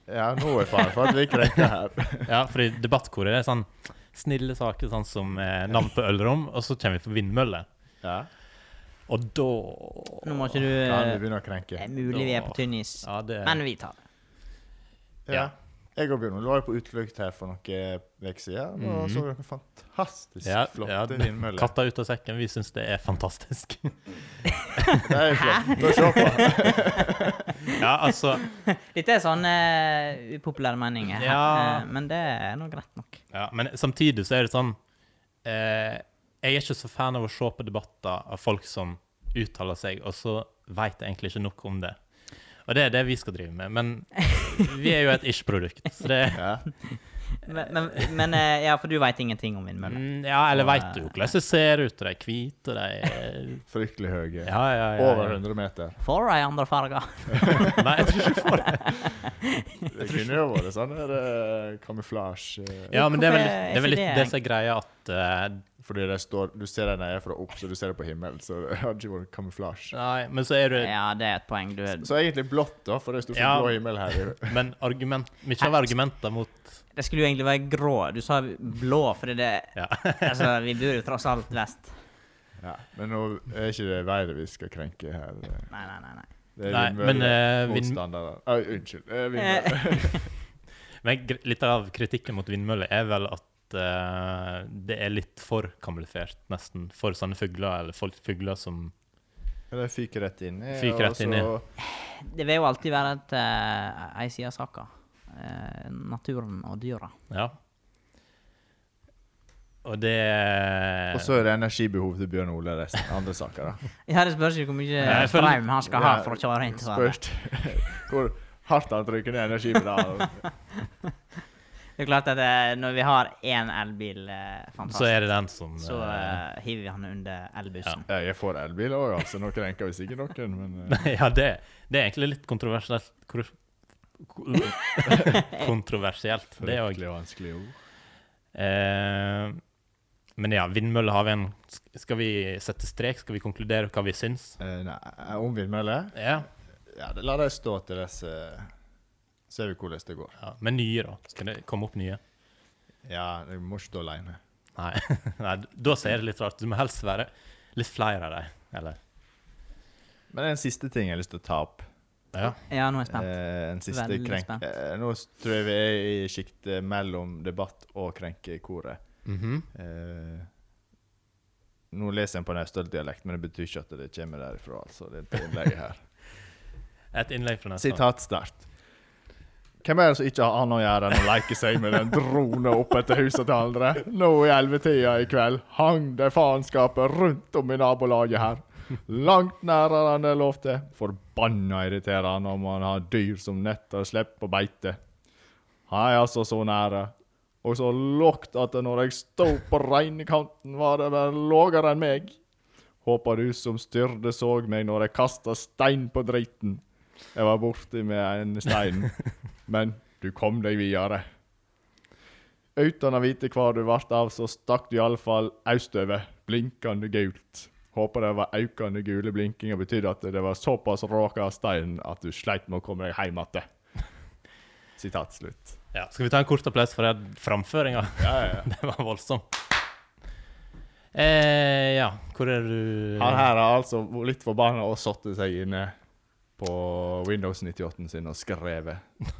[SPEAKER 1] Ja, nå er faren for at vi krenker her.
[SPEAKER 2] Ja, for i debattkoret er det sånn snille saker, sånn som eh, navn på ølrom, og så kommer vi på vindmøller.
[SPEAKER 1] Ja,
[SPEAKER 2] Og da
[SPEAKER 3] Nå må ikke du
[SPEAKER 1] kan vi
[SPEAKER 3] Det
[SPEAKER 1] begynne å krenke?
[SPEAKER 3] er mulig vi er på tynn is,
[SPEAKER 2] Ja, det
[SPEAKER 3] men vi tar det.
[SPEAKER 1] Ja. Jeg og Bjørn Ole var jo på utflukt her for noen uker siden og så noen fantastisk
[SPEAKER 2] Mhm. ja,
[SPEAKER 1] flotte
[SPEAKER 2] ja,
[SPEAKER 1] vindmøller.
[SPEAKER 2] Katta ut av sekken. Vi syns det er fantastisk.
[SPEAKER 1] Det er jo flott å se på.
[SPEAKER 2] ja, altså
[SPEAKER 3] Dette er sånne eh, upopulære meninger, her,
[SPEAKER 2] Ja.
[SPEAKER 3] eh, men det er nå greit nok.
[SPEAKER 2] ja, Men samtidig så er det sånn eh, Jeg er ikke så fan av å se på debatter av folk som uttaler seg, og så veit jeg egentlig ikke nok om det. Og det er det vi skal drive med. Men Vi er jo et ish-produkt. Så det
[SPEAKER 1] Ja.
[SPEAKER 3] Men, men, men eh, ja, for du veit ingenting om vindmøller?
[SPEAKER 2] Mm, Ja, eller veit du jo hvordan det ser ut? De er hvite, de er
[SPEAKER 1] Fryktelig høye.
[SPEAKER 2] Ja, ja, ja.
[SPEAKER 1] Over 100 meter.
[SPEAKER 3] Får de andre farger?
[SPEAKER 2] Nei, jeg tror ikke for det.
[SPEAKER 1] Det kunne jo vært sånn der eh, kamuflasje eh,
[SPEAKER 2] Ja, men det er vel, det
[SPEAKER 3] Hvorfor er
[SPEAKER 2] er vel
[SPEAKER 3] ikke
[SPEAKER 2] litt
[SPEAKER 3] det-
[SPEAKER 2] det som er greia, at eh,
[SPEAKER 1] Fordi det står, du ser dem nede fra opp, så du ser det på himmelen. Så det hadde ikke vært kamuflasje.
[SPEAKER 2] Nei, men så er du
[SPEAKER 3] Ja, det er et poeng. Du, det
[SPEAKER 1] Så egentlig blått, da, for det er stort sett
[SPEAKER 2] Ja.
[SPEAKER 1] blå himmel her. i-
[SPEAKER 2] Men argument, mye av argumentene mot
[SPEAKER 3] skulle jo egentlig være grå. Du sa blå, fordi det
[SPEAKER 2] Ja.
[SPEAKER 3] Altså, vi bor jo tross alt vest.
[SPEAKER 1] Ja. Men nå er ikke det været vi skal krenke her. eh.
[SPEAKER 3] Nei, nei, nei. nei.
[SPEAKER 1] Det er
[SPEAKER 2] Nei, men, eh, vind-
[SPEAKER 1] vindmøllmotstandere. Uh, unnskyld. eh, vindmøller.
[SPEAKER 3] Eh,
[SPEAKER 2] men gr- Litt av kritikken mot vindmøller er vel at eh, det er litt for kamuflert, nesten, for sånne fugler, eller folk, fugler som
[SPEAKER 1] Ja, De fyker rett inn i.
[SPEAKER 2] Fyker rett inn i.
[SPEAKER 1] og så-
[SPEAKER 3] det vil jo alltid være et, eh, ei side av saka. Eh, naturen og dyra.
[SPEAKER 2] Ja. Og det
[SPEAKER 1] Og så er det energibehovet til Bjørn Ole resten andre saker, da.
[SPEAKER 3] Ja, det spørs jo hvor mye
[SPEAKER 2] jeg føler-
[SPEAKER 3] strøm han skal ha
[SPEAKER 1] Ja,
[SPEAKER 3] for å kjøre inn til
[SPEAKER 1] Spørs
[SPEAKER 3] Sverige.
[SPEAKER 1] hvor hardt han trykker ned energipedalen.
[SPEAKER 3] Det er klart at eh, når vi har én elbil, eh, fantastisk,
[SPEAKER 2] Så er det den som
[SPEAKER 3] så
[SPEAKER 2] eh,
[SPEAKER 3] eh, hiver vi han under elbussen.
[SPEAKER 1] Ja, Jeg får elbil òg, altså. Nå krenker vi sikkert noen, men eh,
[SPEAKER 2] Nei, ja, det, det er egentlig litt kontroversielt. Kor- ko- Kontroversielt, det òg.
[SPEAKER 1] fryktelig vanskelig ord.
[SPEAKER 2] Eh, men ja, vindmøller har vi en Skal vi sette strek? Skal vi konkludere hva vi syns?
[SPEAKER 1] Eh, Nei, om vindmøller?
[SPEAKER 2] Ja,
[SPEAKER 1] Ja, det- la dem stå til dess eh, Ser vi hvordan det går.
[SPEAKER 2] ja. Men nye, da? Skal det komme opp nye?
[SPEAKER 1] Ja, jeg må ikke stå alene.
[SPEAKER 2] Nei. Nei, da ser det litt rart Du må helst være litt flere av dem. Eller
[SPEAKER 1] Men det er en siste ting jeg har lyst til å ta opp.
[SPEAKER 2] Ja.
[SPEAKER 3] Ja, nå er jeg spent.
[SPEAKER 1] Eh, en siste
[SPEAKER 3] Veldig
[SPEAKER 1] krenk...
[SPEAKER 3] spent.
[SPEAKER 1] Eh, nå s- tror jeg vi er i sjiktet mellom debatt og krenkekoret.
[SPEAKER 2] Mhm.
[SPEAKER 1] Eh, nå leser jeg på Naustdal-dialekt, men det betyr ikke at det kommer derifra. altså, dette innlegget her.
[SPEAKER 2] Et innlegg fra neste gang.
[SPEAKER 1] Sitatstart. Hvem er det som ikke har annet å gjøre enn å leke seg med den drona opp etter huset til andre? Nå i ellevetida i kveld hang det faenskapet rundt om i nabolaget her. Langt nærere enn det er lov til. Forbanna irriterende om man har dyr som nettopp slipper å beite. Han er altså så nære. Og så lågt at når jeg sto på reine kanten, var det vel lågere enn meg. Håper du som styrde såg meg når jeg kasta stein på driten. Jeg var borti med en stein, men du kom deg videre. Uten å vite hva du vart av, så stakk du iallfall austover, blinkende gult. Håper det var økende gule blinkinger betydde at det var såpass råka av steinen at du sleit med å komme deg hjem igjen. Sitat slutt.
[SPEAKER 2] Ja. Skal vi ta en kort applaus for den framføringa?
[SPEAKER 1] Ja, ja, ja.
[SPEAKER 2] Det var voldsomt. Eh, ja, hvor er du
[SPEAKER 1] Han her har altså vært litt forbanna og satt seg inne på Windows 98 sin og skrevet.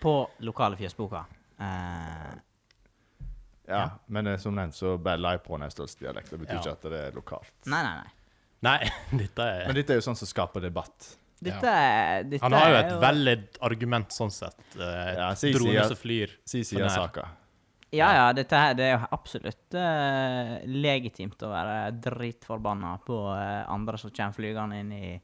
[SPEAKER 3] På lokale fjøsboka. Eh,
[SPEAKER 1] Ja, Men eh, som nevnt så bella jeg på Naustdalsdialekt. Det betyr
[SPEAKER 2] Ja.
[SPEAKER 1] ikke at det er lokalt.
[SPEAKER 3] nei, nei, nei.
[SPEAKER 2] Nei, dette er
[SPEAKER 1] Men dette er jo sånn som skaper debatt.
[SPEAKER 3] Dette, er- dette
[SPEAKER 2] Han har jo
[SPEAKER 3] er
[SPEAKER 2] et veldig argument sånn sett. Eh,
[SPEAKER 1] Ja, si-
[SPEAKER 2] drone
[SPEAKER 1] si at-
[SPEAKER 2] som flyr.
[SPEAKER 1] Si
[SPEAKER 2] For
[SPEAKER 1] sida
[SPEAKER 2] nær.
[SPEAKER 1] saka.
[SPEAKER 3] Ja, ja, dette her, det er jo absolutt eh, legitimt å være dritforbanna på eh, andre som kommer flygende inn i,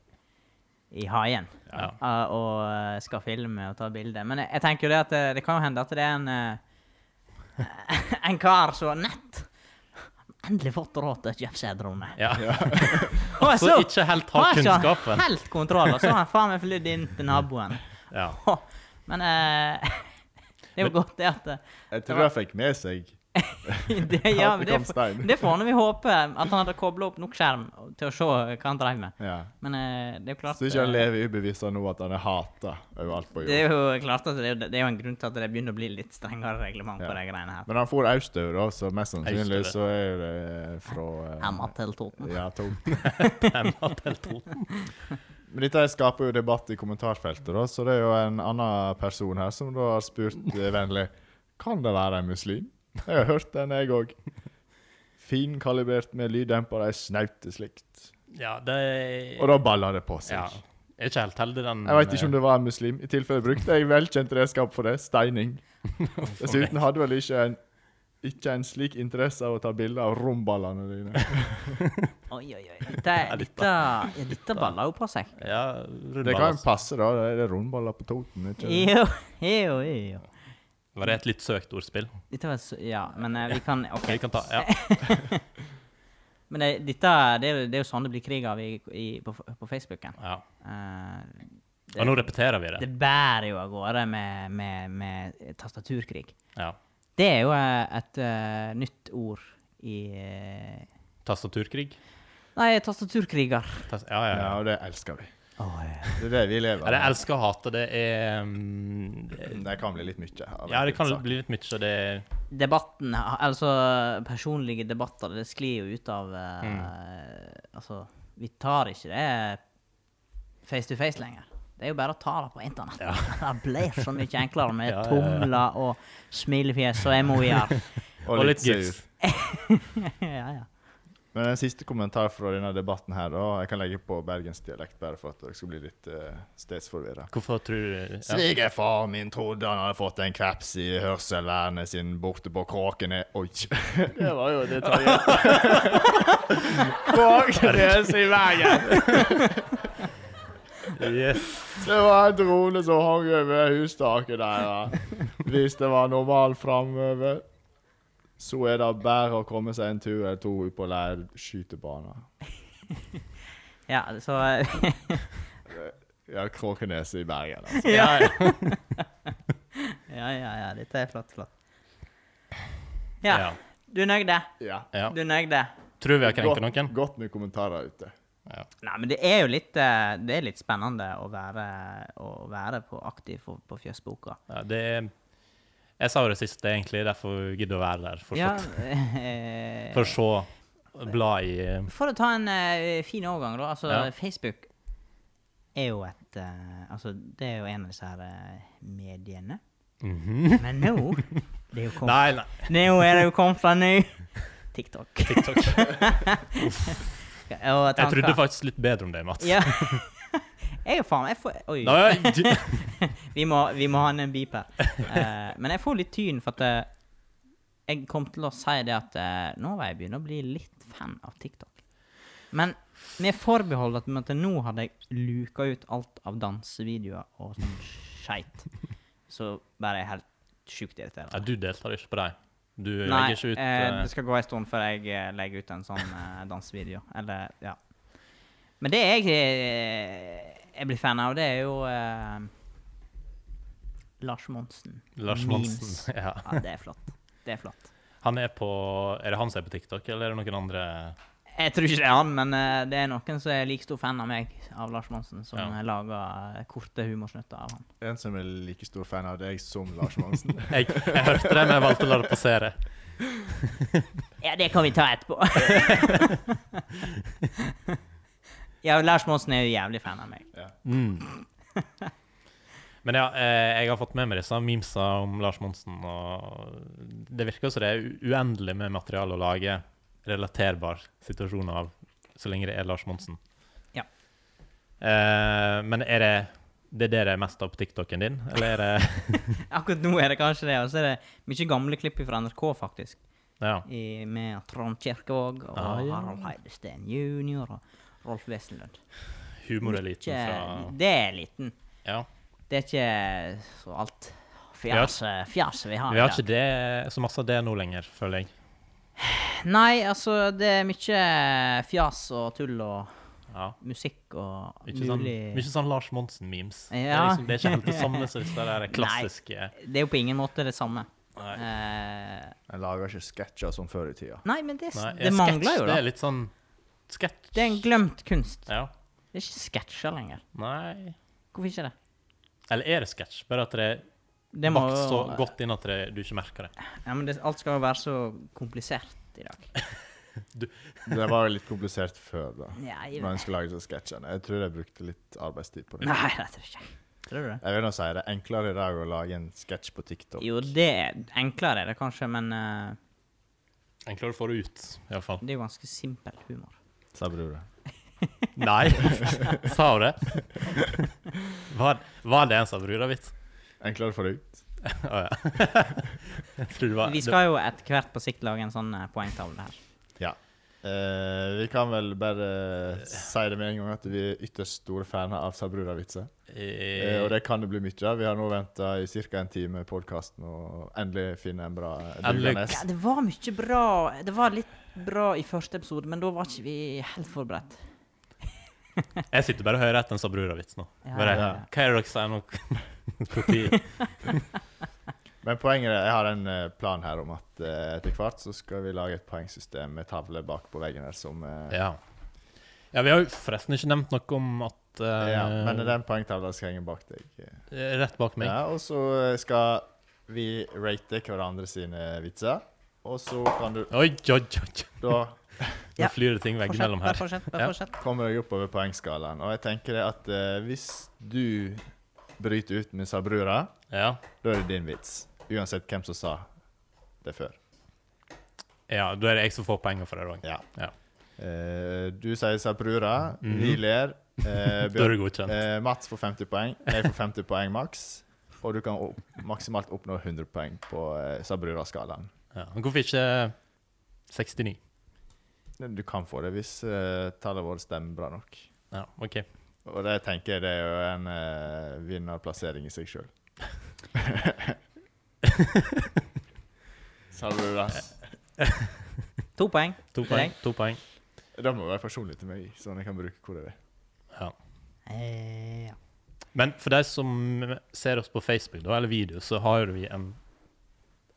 [SPEAKER 3] i haien
[SPEAKER 2] Ja.
[SPEAKER 3] eh, og eh, skal filme og ta bilde. Men jeg, jeg tenker jo det at eh, det, det kan jo hende at det er en eh, en kar som nett endelig fått råd til å kjøpe seg drone.
[SPEAKER 2] Ja.
[SPEAKER 3] Og
[SPEAKER 2] Så ikke helt har
[SPEAKER 3] har ikke
[SPEAKER 2] kunnskapen.
[SPEAKER 3] Helt kontroll, og så har han faen meg flydd inn til naboen.
[SPEAKER 2] Ja.
[SPEAKER 3] Men eh, det er jo godt det at eh,
[SPEAKER 1] Jeg tror jeg fikk med seg
[SPEAKER 3] det,
[SPEAKER 1] Ja, det
[SPEAKER 3] ja, men det,
[SPEAKER 1] kom
[SPEAKER 3] får-
[SPEAKER 1] stein.
[SPEAKER 3] det får vi håpe. At han hadde kobla opp nok skjerm til å se hva han drev med.
[SPEAKER 1] ja.
[SPEAKER 3] Men eh, det er jo klart
[SPEAKER 1] Så ikke han
[SPEAKER 3] eh,
[SPEAKER 1] lever ubevisst nå at han er hata overalt på
[SPEAKER 3] Det
[SPEAKER 1] jord.
[SPEAKER 3] er jo klart at det er, jo- det er jo en grunn til at det begynner å bli litt strengere reglement på
[SPEAKER 1] Ja.
[SPEAKER 3] de greiene her.
[SPEAKER 1] Men han for austover, da, så mest sannsynlig
[SPEAKER 2] Austøver.
[SPEAKER 1] så er det fra eh,
[SPEAKER 3] Hemma til Toten.
[SPEAKER 1] Ja, to.
[SPEAKER 2] Emma til Toten.
[SPEAKER 1] Men dette her skaper jo debatt i kommentarfeltet, da, så det er jo en annen person her som da har spurt eh, vennlig Kan det være en muslim? Jeg har hørt den, jeg òg. Finkalibrert med lyddemper, ei snaute slikt.
[SPEAKER 2] Ja, det
[SPEAKER 1] Og da baller det på seg.
[SPEAKER 2] ja. Jeg er ikke helt heldig, den.
[SPEAKER 1] Jeg veit ikke om det var en muslim. I tilfelle brukte jeg velkjent redskap for det. Steining. Dessuten hadde vel ikke en Ikke en slik interesse av å ta bilde av rumballene dine.
[SPEAKER 3] Oi, oi, oi. Dette,
[SPEAKER 2] Ja, litt,
[SPEAKER 3] dette, ja, dette baller jo på seg.
[SPEAKER 2] eh, Ja,
[SPEAKER 1] Det kan
[SPEAKER 2] rundballas.
[SPEAKER 1] jo passe, da. Det er rundballer på Toten. ikke det?
[SPEAKER 3] Jo, jo, jo.
[SPEAKER 2] Var det et litt søkt ordspill?
[SPEAKER 3] Dette var så, Ja, men eh, vi kan OK.
[SPEAKER 2] Vi kan ta, ja.
[SPEAKER 3] Men det, dette, det, er jo- det er jo sånn det blir krig av i, i, på, på Facebooken.
[SPEAKER 2] ja.
[SPEAKER 3] Eh,
[SPEAKER 2] Og nå repeterer vi det.
[SPEAKER 3] det bærer jo av gårde med, med, med tastaturkrig.
[SPEAKER 2] Ja.
[SPEAKER 3] Det er jo eh, et eh, nytt ord i eh,
[SPEAKER 2] Tastaturkrig?
[SPEAKER 3] Nei, tastaturkriger.
[SPEAKER 2] Tas ja, ja, ja.
[SPEAKER 1] Ja, og det elsker vi.
[SPEAKER 3] Oh,
[SPEAKER 1] Det er det vi lever
[SPEAKER 2] Ja, Det jeg elsker og hater, det er mm,
[SPEAKER 1] Det kan bli litt mye. av
[SPEAKER 2] Ja, det kan
[SPEAKER 1] enkeltsak.
[SPEAKER 2] bli litt mye, så det er
[SPEAKER 3] Debatten, altså personlige debatter, det sklir jo ut av eh,
[SPEAKER 2] Mm.
[SPEAKER 3] Altså, vi tar ikke det face to face lenger. Det er jo bare å ta det på internett. det blir så mye enklere med
[SPEAKER 2] Ja, ja, ja.
[SPEAKER 3] tomler og smilefjes og emojier.
[SPEAKER 2] Og litt
[SPEAKER 1] sur.
[SPEAKER 2] gifs.
[SPEAKER 3] ja, ja.
[SPEAKER 1] Men en siste kommentar fra denne debatten her, da. Jeg kan legge på bergensdialekt bare for at dere skal bli litt uh, stedsforvirra.
[SPEAKER 2] Hvorfor tror du ja.
[SPEAKER 1] Svigerfar min trodde han hadde fått en kveps i hørselvernet sin borte på Kråkene. Oi! Det var jo detaljert. Kråkenes i Bergen!
[SPEAKER 2] Yes.
[SPEAKER 1] Det var en drone som hang over hustaket der. Ja. Hvis det var normal framover, så er det bare å komme seg en tur eller to ut på leirskytebanen.
[SPEAKER 3] ja så
[SPEAKER 1] Ja, Kråkeneset i Bergen, altså.
[SPEAKER 2] Ja.
[SPEAKER 3] Ja, ja, ja. Dette er flott, flott. Ja.
[SPEAKER 2] Ja.
[SPEAKER 3] Du er nøyd, det?
[SPEAKER 1] Ja.
[SPEAKER 2] ja.
[SPEAKER 3] Du er nøyd, det?
[SPEAKER 2] Tror vi har krenka noen?
[SPEAKER 1] Godt, godt med kommentarer ute.
[SPEAKER 2] Ja.
[SPEAKER 3] Nei, men det er jo litt, eh, det er litt spennende å være, å være på aktiv på, på Fjøsboka.
[SPEAKER 2] Ja, det er Jeg sa jo det sist, det er egentlig derfor vi gidder å være der fortsatt.
[SPEAKER 3] eh,
[SPEAKER 2] For å se blad i
[SPEAKER 3] for å ta en eh, fin overgang, da. Altså,
[SPEAKER 2] Ja.
[SPEAKER 3] Facebook er jo et eh, Altså, det er jo en av disse her eh, mediene.
[SPEAKER 2] Mhm.
[SPEAKER 3] Men nå det er jo kommet,
[SPEAKER 2] Nei, nei.
[SPEAKER 3] Nå er det jo kommet en ny TikTok.
[SPEAKER 2] TikTok.
[SPEAKER 3] Og
[SPEAKER 2] Jeg trodde
[SPEAKER 3] tanker.
[SPEAKER 2] faktisk litt bedre om det, Mats.
[SPEAKER 3] Ja. Jeg er jo faen jeg får, Oi.
[SPEAKER 2] Nei, d-
[SPEAKER 3] Vi må, vi må ha en beep her. Eh, men jeg får litt tyn for at eh, jeg kom til å si det at eh, nå var jeg begynner å bli litt fan av TikTok. Men med forbehold at, med at nå hadde jeg luka ut alt av dansevideoer og sånn skeit, så bare er jeg helt sjukt
[SPEAKER 2] Nei,
[SPEAKER 3] irriterende.
[SPEAKER 2] du deltar ikke på dem. Du
[SPEAKER 3] Nei,
[SPEAKER 2] legger ikke ut
[SPEAKER 3] eh,
[SPEAKER 2] eh,
[SPEAKER 3] det skal gå en stund før jeg eh, legger ut en sånn eh, dansevideo. Eller, ja. Men det jeg, eh, jeg blir fan av, det er jo eh, Lars Monsen.
[SPEAKER 2] Lars
[SPEAKER 3] Memes.
[SPEAKER 2] Monsen. Ja.
[SPEAKER 3] Ja, det er flott. Det er flott.
[SPEAKER 2] Han er på Er det han som er på TikTok, eller er det noen andre
[SPEAKER 3] Jeg tror ikke det er han, men eh, det er noen som er like stor fan av meg, av Lars Monsen, som
[SPEAKER 2] Ja.
[SPEAKER 3] eh, lager eh, korte humorsnutter av han.
[SPEAKER 1] En som er like stor fan av deg som Lars Monsen.
[SPEAKER 2] Jeg, jeg hørte det, men jeg valgte å la det passere.
[SPEAKER 3] Ja, det kan vi ta etterpå. ja, Lars Monsen er jo jævlig fan av meg.
[SPEAKER 2] Mm. Men ja, eh, jeg har fått med meg disse memesa om Lars Monsen, og det virker som det er u- uendelig med materiale å lage relaterbar situasjon av, så lenge det er Lars Monsen.
[SPEAKER 3] Ja.
[SPEAKER 2] Eh, men er det det er det det er mest av på TikToken din, eller er det
[SPEAKER 3] Akkurat nå er det kanskje det, og så er det mye gamle klipp fra NRK, faktisk.
[SPEAKER 2] Ja.
[SPEAKER 3] I, med Trond Kirkevåg og
[SPEAKER 2] Ah, ja.
[SPEAKER 3] Harald Heidesteen jr. og Rolf Wesenlund.
[SPEAKER 2] Humoreliten
[SPEAKER 3] Ikke-
[SPEAKER 2] fra
[SPEAKER 3] Det er liten.
[SPEAKER 2] Ja.
[SPEAKER 3] Det er ikke så alt
[SPEAKER 2] har-
[SPEAKER 3] fjaset fjas vi har.
[SPEAKER 2] Vi har
[SPEAKER 3] i
[SPEAKER 2] ikke
[SPEAKER 3] dag.
[SPEAKER 2] det, så masse av det nå lenger, føler jeg.
[SPEAKER 3] Nei, altså, det er mye fjas og tull og
[SPEAKER 2] Ja.
[SPEAKER 3] musikk og
[SPEAKER 2] Ikke sånn,
[SPEAKER 3] mulig
[SPEAKER 2] mye sånn Lars Monsen-memes. Det, er
[SPEAKER 3] Ja.
[SPEAKER 2] liksom, det er ikke helt det samme som disse der klassiske
[SPEAKER 3] Det er jo på ingen måte det samme.
[SPEAKER 2] Nei.
[SPEAKER 3] Eh,
[SPEAKER 1] Jeg lager ikke sketsjer som før i tida.
[SPEAKER 3] nei, men det,
[SPEAKER 2] Nei,
[SPEAKER 3] det
[SPEAKER 2] sketsj,
[SPEAKER 3] mangler jo, da.
[SPEAKER 2] Det er litt sånn sketsj.
[SPEAKER 3] Det er en glemt kunst.
[SPEAKER 2] Ja.
[SPEAKER 3] Det er ikke sketsjer lenger.
[SPEAKER 2] Nei
[SPEAKER 3] Hvorfor ikke det?
[SPEAKER 2] Eller er det sketsj? Bare at det
[SPEAKER 3] Det
[SPEAKER 2] er
[SPEAKER 3] må
[SPEAKER 2] bakt så
[SPEAKER 3] jo
[SPEAKER 2] godt inn at det, du ikke merker det.
[SPEAKER 3] Ja, men det, alt skal jo være så komplisert i dag.
[SPEAKER 1] Det var jo litt komplisert før, da.
[SPEAKER 3] Ja, jeg,
[SPEAKER 1] Når en skal lage disse sketsjene. Jeg tror jeg brukte litt arbeidstid på det.
[SPEAKER 3] nei, det tror jeg ikke. Tror du det?
[SPEAKER 1] Jeg vil nå si det er enklere i dag å lage en sketsj på TikTok.
[SPEAKER 3] Jo, det er enklere er det kanskje, men eh,
[SPEAKER 2] Enklere å få det ut, iallfall.
[SPEAKER 3] det er jo ganske simpel humor.
[SPEAKER 1] Sa brura.
[SPEAKER 2] Nei, sa hun det? Var, var det en som brura vits?
[SPEAKER 1] Enklere for deg.
[SPEAKER 2] Å ja. Jeg tror det var
[SPEAKER 3] Vi skal jo etter hvert på sikt lage en sånn eh, poengtavle her.
[SPEAKER 1] Ja. Eh, vi kan vel bare si det med en gang at vi er ytterst store faner av Sabruda-vitser. Eh, og det
[SPEAKER 2] det,
[SPEAKER 1] kan det bli mye av. Vi har nå venta i ca. en time podkasten og endelig finne en bra
[SPEAKER 2] Endelig.
[SPEAKER 1] dugende.
[SPEAKER 3] Ja, det var mye bra Det var litt bra i første episode, men da var ikke vi helt forberedt.
[SPEAKER 2] Jeg sitter bare og hører etter en Sabrura-vits nå.
[SPEAKER 3] Ja,
[SPEAKER 2] Bare,
[SPEAKER 1] ja, ja.
[SPEAKER 2] Hva er det dere sier nå? Hvor tid?
[SPEAKER 1] Men poenget er, jeg har en eh, plan her om at eh, etter hvert så skal vi lage et poengsystem med tavle bak på veggen her som eh,
[SPEAKER 2] Ja. ja, vi har jo forresten ikke nevnt noe om at eh,
[SPEAKER 1] ja, Men den poengtavla skal henge bak deg.
[SPEAKER 2] eh, Rett bak meg.
[SPEAKER 1] Ja, og så eh, skal vi rate hverandre sine vitser. Og så kan du
[SPEAKER 2] Oi, oi, oi, oi.
[SPEAKER 1] da
[SPEAKER 3] Ja.
[SPEAKER 2] Nå flyr det ting
[SPEAKER 3] Fortsett,
[SPEAKER 2] veggimellom
[SPEAKER 3] bare
[SPEAKER 2] her.
[SPEAKER 3] fortsett. Bare
[SPEAKER 2] Ja.
[SPEAKER 3] fortsett.
[SPEAKER 1] kommer jeg oppover poengskalaen. Og jeg tenker det at eh, hvis du bryter ut med Sabrura,
[SPEAKER 2] Ja.
[SPEAKER 1] da er det din vits. Uansett hvem som sa det før.
[SPEAKER 2] ja, da er det jeg som får penger for det òg.
[SPEAKER 1] Ja.
[SPEAKER 2] Ja.
[SPEAKER 1] Eh, du sier Sabrura, vi ler. eh,
[SPEAKER 2] Da er du godkjent.
[SPEAKER 1] eh, Mats får 50 poeng, jeg får 50 poeng maks. Og du kan opp, maksimalt oppnå 100 poeng på eh, Sabrura-skalaen.
[SPEAKER 2] Ja. Men hvorfor ikke eh, 69?
[SPEAKER 1] Men Du kan få det hvis eh, tallet vårt stemmer bra nok.
[SPEAKER 2] Ja, OK.
[SPEAKER 1] Og det tenker jeg det er jo en eh, vinnerplassering i seg sjøl. Sabrura.
[SPEAKER 3] To poeng.
[SPEAKER 2] To
[SPEAKER 3] Til
[SPEAKER 2] poeng.
[SPEAKER 3] deg.
[SPEAKER 2] To poeng.
[SPEAKER 1] Eh, Det må være personlig til meg, sånn jeg kan bruke hvor jeg vil.
[SPEAKER 2] Ja.
[SPEAKER 3] Eh, ja.
[SPEAKER 2] Men for de som ser oss på Facebook, da, eller video, så har vi en,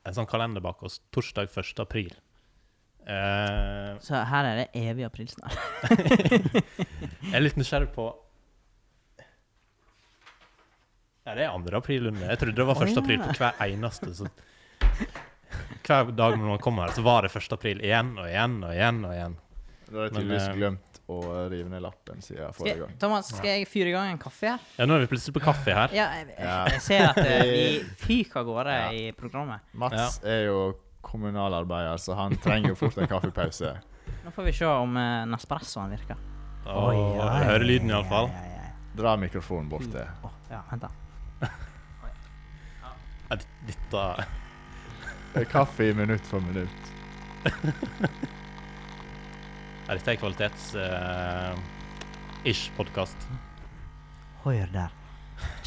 [SPEAKER 2] en sånn kalender bak oss torsdag 1. april. Eh,
[SPEAKER 3] Så her er det evig april snart.
[SPEAKER 2] jeg er litt nysgjerrig på Ja, det er 2. april, Lunde. Jeg trodde det var 1. april på hver eneste. Så. Hver dag når man kommer her, så var det 1. april igjen og igjen og igjen. og igjen.
[SPEAKER 1] Da har jeg
[SPEAKER 2] Men,
[SPEAKER 1] tydeligvis
[SPEAKER 2] eh,
[SPEAKER 1] glemt å rive ned lappen siden
[SPEAKER 3] Skal
[SPEAKER 1] forrige
[SPEAKER 3] jeg,
[SPEAKER 1] gang.
[SPEAKER 3] Thomas, skal jeg fyre i gang en kaffe her?
[SPEAKER 2] Ja, Nå er vi plutselig på kaffe her.
[SPEAKER 3] Ja, jeg,
[SPEAKER 1] Ja.
[SPEAKER 3] jeg ser at eh, vi fyker av gårde
[SPEAKER 1] Ja.
[SPEAKER 3] i programmet.
[SPEAKER 1] Mats er jo kommunalarbeider, så han trenger jo fort en kaffepause.
[SPEAKER 3] Nå får vi se om eh, Nespressoen virker.
[SPEAKER 2] Og jeg hører lyden, iallfall.
[SPEAKER 3] Ja, ja, ja.
[SPEAKER 1] Dra mikrofonen bort til
[SPEAKER 2] Mm.
[SPEAKER 3] Å, ja, vent da.
[SPEAKER 2] Dette
[SPEAKER 1] Kaffe i minutt for minutt.
[SPEAKER 2] ja, dette eh, er kvalitets-ish podkast.
[SPEAKER 3] Høyre der.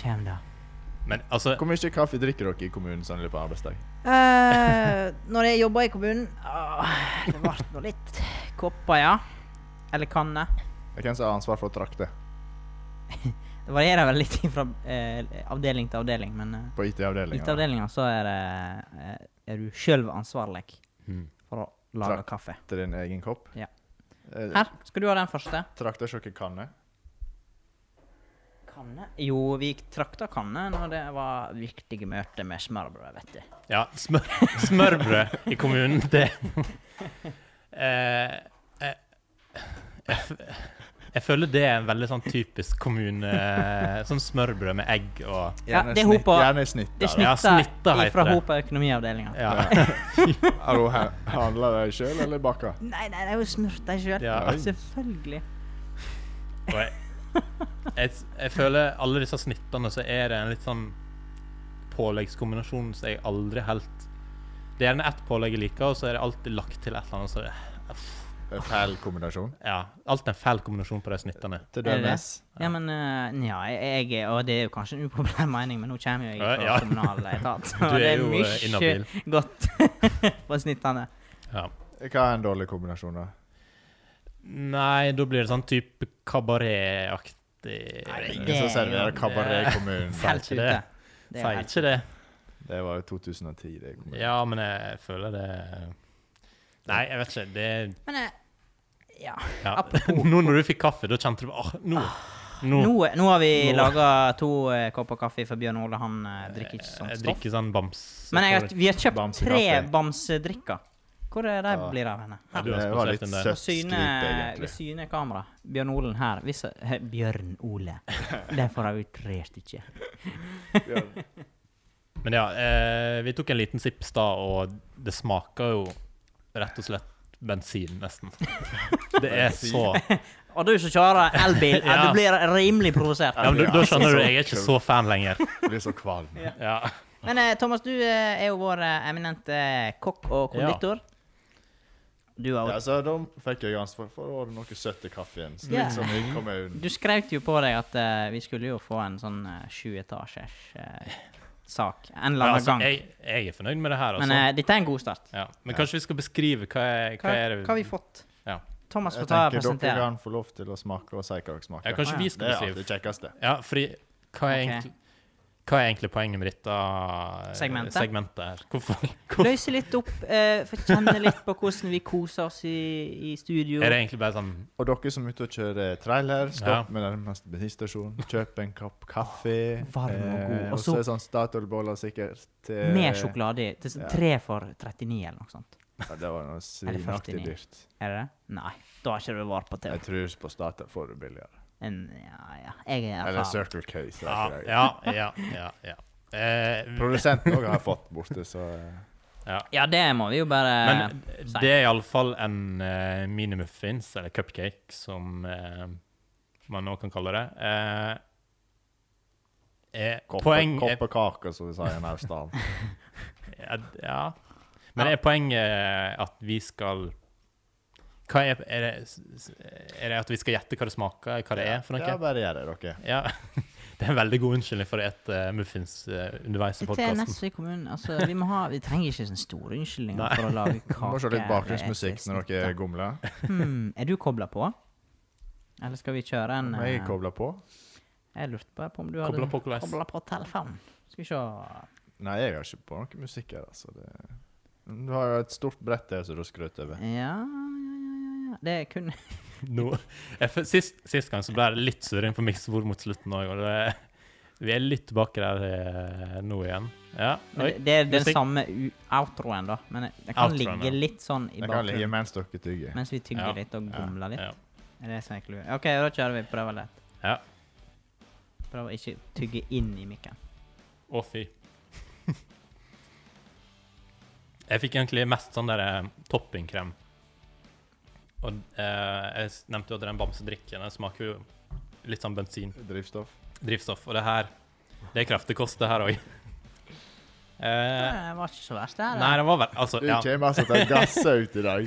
[SPEAKER 3] Kjem da.
[SPEAKER 2] Men altså
[SPEAKER 1] Hvor mye kaffe drikker dere i kommunen sånn i løpet av arbeidsdag?
[SPEAKER 3] Eh, når jeg jobba i kommunen åh, Det ble nå litt kopper, ja. Eller kanner.
[SPEAKER 1] Hvem som har ansvar for å trakte?
[SPEAKER 3] Det varierer vel litt fra eh, avdeling til avdeling, men uh,
[SPEAKER 1] På IT-avdelinga?
[SPEAKER 3] IT-avdelinga så er det eh, Er du sjøl ansvarlig
[SPEAKER 2] hmm.
[SPEAKER 3] for å lage
[SPEAKER 1] Klart.
[SPEAKER 3] kaffe.
[SPEAKER 1] Til din egen kopp?
[SPEAKER 3] Ja.
[SPEAKER 1] Eh,
[SPEAKER 3] Her skal du ha den første.
[SPEAKER 1] Trakter dere kanne?
[SPEAKER 3] Kanne? Jo, vi trakta kanne når det var viktige møter med smørbrød, vet du.
[SPEAKER 2] Ja, smør, smørbrød i kommunen, det eh, jeg, jeg, f- jeg føler det er en veldig sånn typisk kommune Sånn smørbrød med egg og
[SPEAKER 3] Ja,
[SPEAKER 1] Gjerne
[SPEAKER 3] det er
[SPEAKER 1] snitt-
[SPEAKER 3] hopa-
[SPEAKER 1] Gjerne snitt.
[SPEAKER 3] Det
[SPEAKER 1] da.
[SPEAKER 2] Ja,
[SPEAKER 3] snitter
[SPEAKER 2] snitta heter
[SPEAKER 3] fra
[SPEAKER 2] det.
[SPEAKER 3] Hopa økonomiavdelinga.
[SPEAKER 2] Ja.
[SPEAKER 1] Har hun he- handla det sjøl, eller bakka?
[SPEAKER 3] Nei, nei, det er jo smurt deg sjøl.
[SPEAKER 2] Ja.
[SPEAKER 3] Selvfølgelig.
[SPEAKER 2] Og jeg, jeg, s- jeg føler alle disse snittene, så er det en litt sånn påleggskombinasjon som jeg aldri helt Det er gjerne ett pålegg jeg liker, og så er det alltid lagt til et eller annet. Så,
[SPEAKER 1] Det er Feil kombinasjon.
[SPEAKER 2] ja, Alt er en fæl kombinasjon på de snittene.
[SPEAKER 1] Til
[SPEAKER 3] Er det
[SPEAKER 1] dømes.
[SPEAKER 3] Ja, men eh, Nja, jeg jeg- Og det er jo kanskje en upopulær mening, men nå kommer jeg fra
[SPEAKER 2] Ja, ja.
[SPEAKER 3] kommunal etat.
[SPEAKER 2] Du
[SPEAKER 3] Og det
[SPEAKER 2] er
[SPEAKER 3] er
[SPEAKER 2] jo, eh, inhabil.
[SPEAKER 3] mye godt på snittene.
[SPEAKER 2] Ja.
[SPEAKER 1] Eh, Hva er en dårlig kombinasjon, da?
[SPEAKER 2] Nei, da blir det sånn type kabaretaktig
[SPEAKER 3] Nei,
[SPEAKER 1] Ingen som
[SPEAKER 3] Det er jo-
[SPEAKER 1] serverer kabaret i kommunen.
[SPEAKER 2] Sier
[SPEAKER 3] Helt
[SPEAKER 2] ikke
[SPEAKER 3] ute.
[SPEAKER 2] det.
[SPEAKER 3] Det er
[SPEAKER 2] Sier
[SPEAKER 3] helt
[SPEAKER 2] ikke det.
[SPEAKER 1] Det var jo 2010. det kom ut.
[SPEAKER 2] Ja, men jeg føler det Nei, jeg vet ikke. Det
[SPEAKER 3] Men eh, ja.
[SPEAKER 2] ja.
[SPEAKER 3] Apropos- Ah,
[SPEAKER 2] Nå når du fikk kaffe, da kjente du bare Åh, nå! Nå,
[SPEAKER 3] Nå, eh, nå har vi
[SPEAKER 2] Nå.
[SPEAKER 3] laga to eh, kopper kaffe for Bjørn Ole. Han eh, drikker ikke sånt
[SPEAKER 2] jeg
[SPEAKER 3] stoff.
[SPEAKER 2] drikker sånn bams...
[SPEAKER 3] Men jeg, har- vi har kjøpt
[SPEAKER 1] Bamsekaffe.
[SPEAKER 3] tre bamsedrikker. Hvor er de
[SPEAKER 1] Ja.
[SPEAKER 3] blir av henne?
[SPEAKER 2] Ja,
[SPEAKER 3] Her.
[SPEAKER 2] du har
[SPEAKER 1] Det var
[SPEAKER 2] spasert
[SPEAKER 1] litt
[SPEAKER 2] den der.
[SPEAKER 1] søtt skryt,
[SPEAKER 3] Syne,
[SPEAKER 1] egentlig.
[SPEAKER 3] syne kamera. Bjørn Olen her. Hvis, he, Bjørn Ole. Derfor har vi tre stykker.
[SPEAKER 1] Ja,
[SPEAKER 2] Men ja, eh, vi tok en liten sipp sta, og det smaker jo rett og slett bensin, nesten. Det er så Ja,
[SPEAKER 3] Og du som kjører elbil, ja.
[SPEAKER 2] Ja.
[SPEAKER 3] du blir rimelig provosert.
[SPEAKER 2] men Da da skjønner du, jeg er ikke så fan lenger.
[SPEAKER 1] Jeg blir så kvalm.
[SPEAKER 2] Ja.
[SPEAKER 3] Men eh, Thomas, du eh, er jo vår eh, eminente kokk og
[SPEAKER 2] Ja.
[SPEAKER 3] konditor. Du, har
[SPEAKER 1] Ja,
[SPEAKER 3] jo-
[SPEAKER 1] så da fikk jeg ganske for, for å ha noe søtt i kaffen, slik
[SPEAKER 3] Ja.
[SPEAKER 1] som i kommunen.
[SPEAKER 3] du skrøt jo på deg at eh, vi skulle jo få en sånn eh, sju etasjers eh, sak en eller
[SPEAKER 2] Ja,
[SPEAKER 3] annen
[SPEAKER 2] altså,
[SPEAKER 3] gang.
[SPEAKER 2] jeg, jeg er fornøyd med det her, altså.
[SPEAKER 3] Men eh, dette er en god start.
[SPEAKER 2] ja. Men kanskje vi skal beskrive hva, er,
[SPEAKER 3] Hva,
[SPEAKER 2] hva er det
[SPEAKER 3] hva har vi fått?
[SPEAKER 2] Ja.
[SPEAKER 3] Thomas
[SPEAKER 1] Jeg
[SPEAKER 3] får ta og
[SPEAKER 1] tenker dere
[SPEAKER 3] presentere.
[SPEAKER 1] kan få lov til å smake og si hva dere
[SPEAKER 2] Ja,
[SPEAKER 1] smaker.
[SPEAKER 2] kanskje
[SPEAKER 3] Ah,
[SPEAKER 2] vi
[SPEAKER 3] ja.
[SPEAKER 1] det
[SPEAKER 2] skal
[SPEAKER 1] er alltid
[SPEAKER 2] beskrive.
[SPEAKER 1] det kjekkeste.
[SPEAKER 2] Ja, fordi hva er
[SPEAKER 3] Ok.
[SPEAKER 2] egentlig hva er egentlig poenget med dette eh,
[SPEAKER 3] Segmentet?
[SPEAKER 2] segmentet her? Hvorfor, hvorfor
[SPEAKER 3] Løse litt opp, eh, få kjenne litt på hvordan vi koser oss i, i studio.
[SPEAKER 2] er det egentlig bare sånn
[SPEAKER 1] Og dere som er ute og kjører trailer, stopp
[SPEAKER 2] Ja.
[SPEAKER 1] med nærmeste bensinstasjon, kjøp en kopp kaffe.
[SPEAKER 3] varm og god.
[SPEAKER 1] eh,
[SPEAKER 3] Og
[SPEAKER 1] Og
[SPEAKER 3] så-
[SPEAKER 1] så er sånn Statoil-boller sikkert. eh,
[SPEAKER 3] Med sjokolade i. Til
[SPEAKER 1] ja.
[SPEAKER 3] Tre for 39 eller noe sånt.
[SPEAKER 1] Ja, det var noe
[SPEAKER 3] Eller
[SPEAKER 1] svinaktig
[SPEAKER 3] 49.
[SPEAKER 1] dyrt.
[SPEAKER 3] Er det det? Nei, da har ikke du vare på TV.
[SPEAKER 1] Jeg tror på Statoil får du billigere.
[SPEAKER 3] En, ja, ja. Jeg er
[SPEAKER 1] Eller
[SPEAKER 3] erfaren.
[SPEAKER 1] Circle K. så
[SPEAKER 2] Ja,
[SPEAKER 1] det er ikke det.
[SPEAKER 2] ja, ja. ja, ja. Eh,
[SPEAKER 1] Produsenten òg har jeg fått borte, så eh,
[SPEAKER 2] ja.
[SPEAKER 3] Ja, det må vi jo bare
[SPEAKER 2] Men
[SPEAKER 3] si.
[SPEAKER 2] det er iallfall en uh, minimuffins, eller cupcake, som eh, man nå kan kalle det. Eh, eh,
[SPEAKER 1] koppe-
[SPEAKER 2] poeng er-
[SPEAKER 1] Koppekake, som vi sier i Naustdal.
[SPEAKER 2] Ja. d- ja. Men er poenget eh, at vi skal hva er, er, det, s- s- er det at vi skal gjette hva det smaker, hva det er for
[SPEAKER 1] Ja,
[SPEAKER 2] noe?
[SPEAKER 1] bare gjør det, dere.
[SPEAKER 2] Ja, Det er en veldig god unnskyldning for å spise muffins eh, underveis i
[SPEAKER 3] Dette er
[SPEAKER 2] podkasten.
[SPEAKER 3] Nessøy kommune. Altså, vi, må ha, vi trenger ikke sånne store unnskyldninger
[SPEAKER 2] Nei.
[SPEAKER 3] for å lage
[SPEAKER 1] Du
[SPEAKER 3] kake.
[SPEAKER 1] må se litt bakgrunnsmusikk
[SPEAKER 3] etter
[SPEAKER 1] når dere gomler.
[SPEAKER 3] snittet. Hmm, er du kobla på? Eller skal vi kjøre en
[SPEAKER 1] Om
[SPEAKER 3] eh,
[SPEAKER 1] jeg kobler på?
[SPEAKER 3] Jeg lurte bare på om du hadde
[SPEAKER 2] Kobla på hvordan?
[SPEAKER 3] kobla på telefonen. Skal vi se
[SPEAKER 1] Nei, jeg har ikke på noe musikk her, altså. Det... Du har jo et stort brett der som du skrøt over.
[SPEAKER 3] Ja, ja, ja, ja, ja. Det er kun
[SPEAKER 2] Nå- jeg f- Sist, sist gang så ble det litt surring på miksebord mot slutten òg, og det, vi er litt tilbake der eh, nå igjen. Ja,
[SPEAKER 3] men
[SPEAKER 2] oi.
[SPEAKER 3] det, det er den
[SPEAKER 2] musikk.
[SPEAKER 3] samme u- outroen, da. Men den kan
[SPEAKER 2] Outroen,
[SPEAKER 3] ligge
[SPEAKER 2] ja.
[SPEAKER 3] litt sånn i
[SPEAKER 1] Jeg kan ligge
[SPEAKER 3] bakgrunnen
[SPEAKER 1] mens dere tygger.
[SPEAKER 3] mens vi tygger
[SPEAKER 2] Ja.
[SPEAKER 3] litt og
[SPEAKER 1] Ja.
[SPEAKER 3] gomler litt.
[SPEAKER 2] Ja.
[SPEAKER 3] Er det som er clouet? OK, da kjører vi. Prøver litt.
[SPEAKER 2] Ja.
[SPEAKER 3] Prøv å ikke tygge inn i mikken.
[SPEAKER 2] Å, fy. jeg fikk egentlig mest sånn der eh, toppingkrem. Og eh, jeg s- nevnte jo at den bamsedrikken den smaker jo litt sånn bensin,
[SPEAKER 1] Drivstoff.
[SPEAKER 2] drivstoff. Og det her Det er kraftig kost, det her òg.
[SPEAKER 3] Det var ikke så verst, det her.
[SPEAKER 2] Eh. nei, det var vel Altså,
[SPEAKER 1] Du
[SPEAKER 2] ja.
[SPEAKER 1] kommer altså til å gasse ut i dag.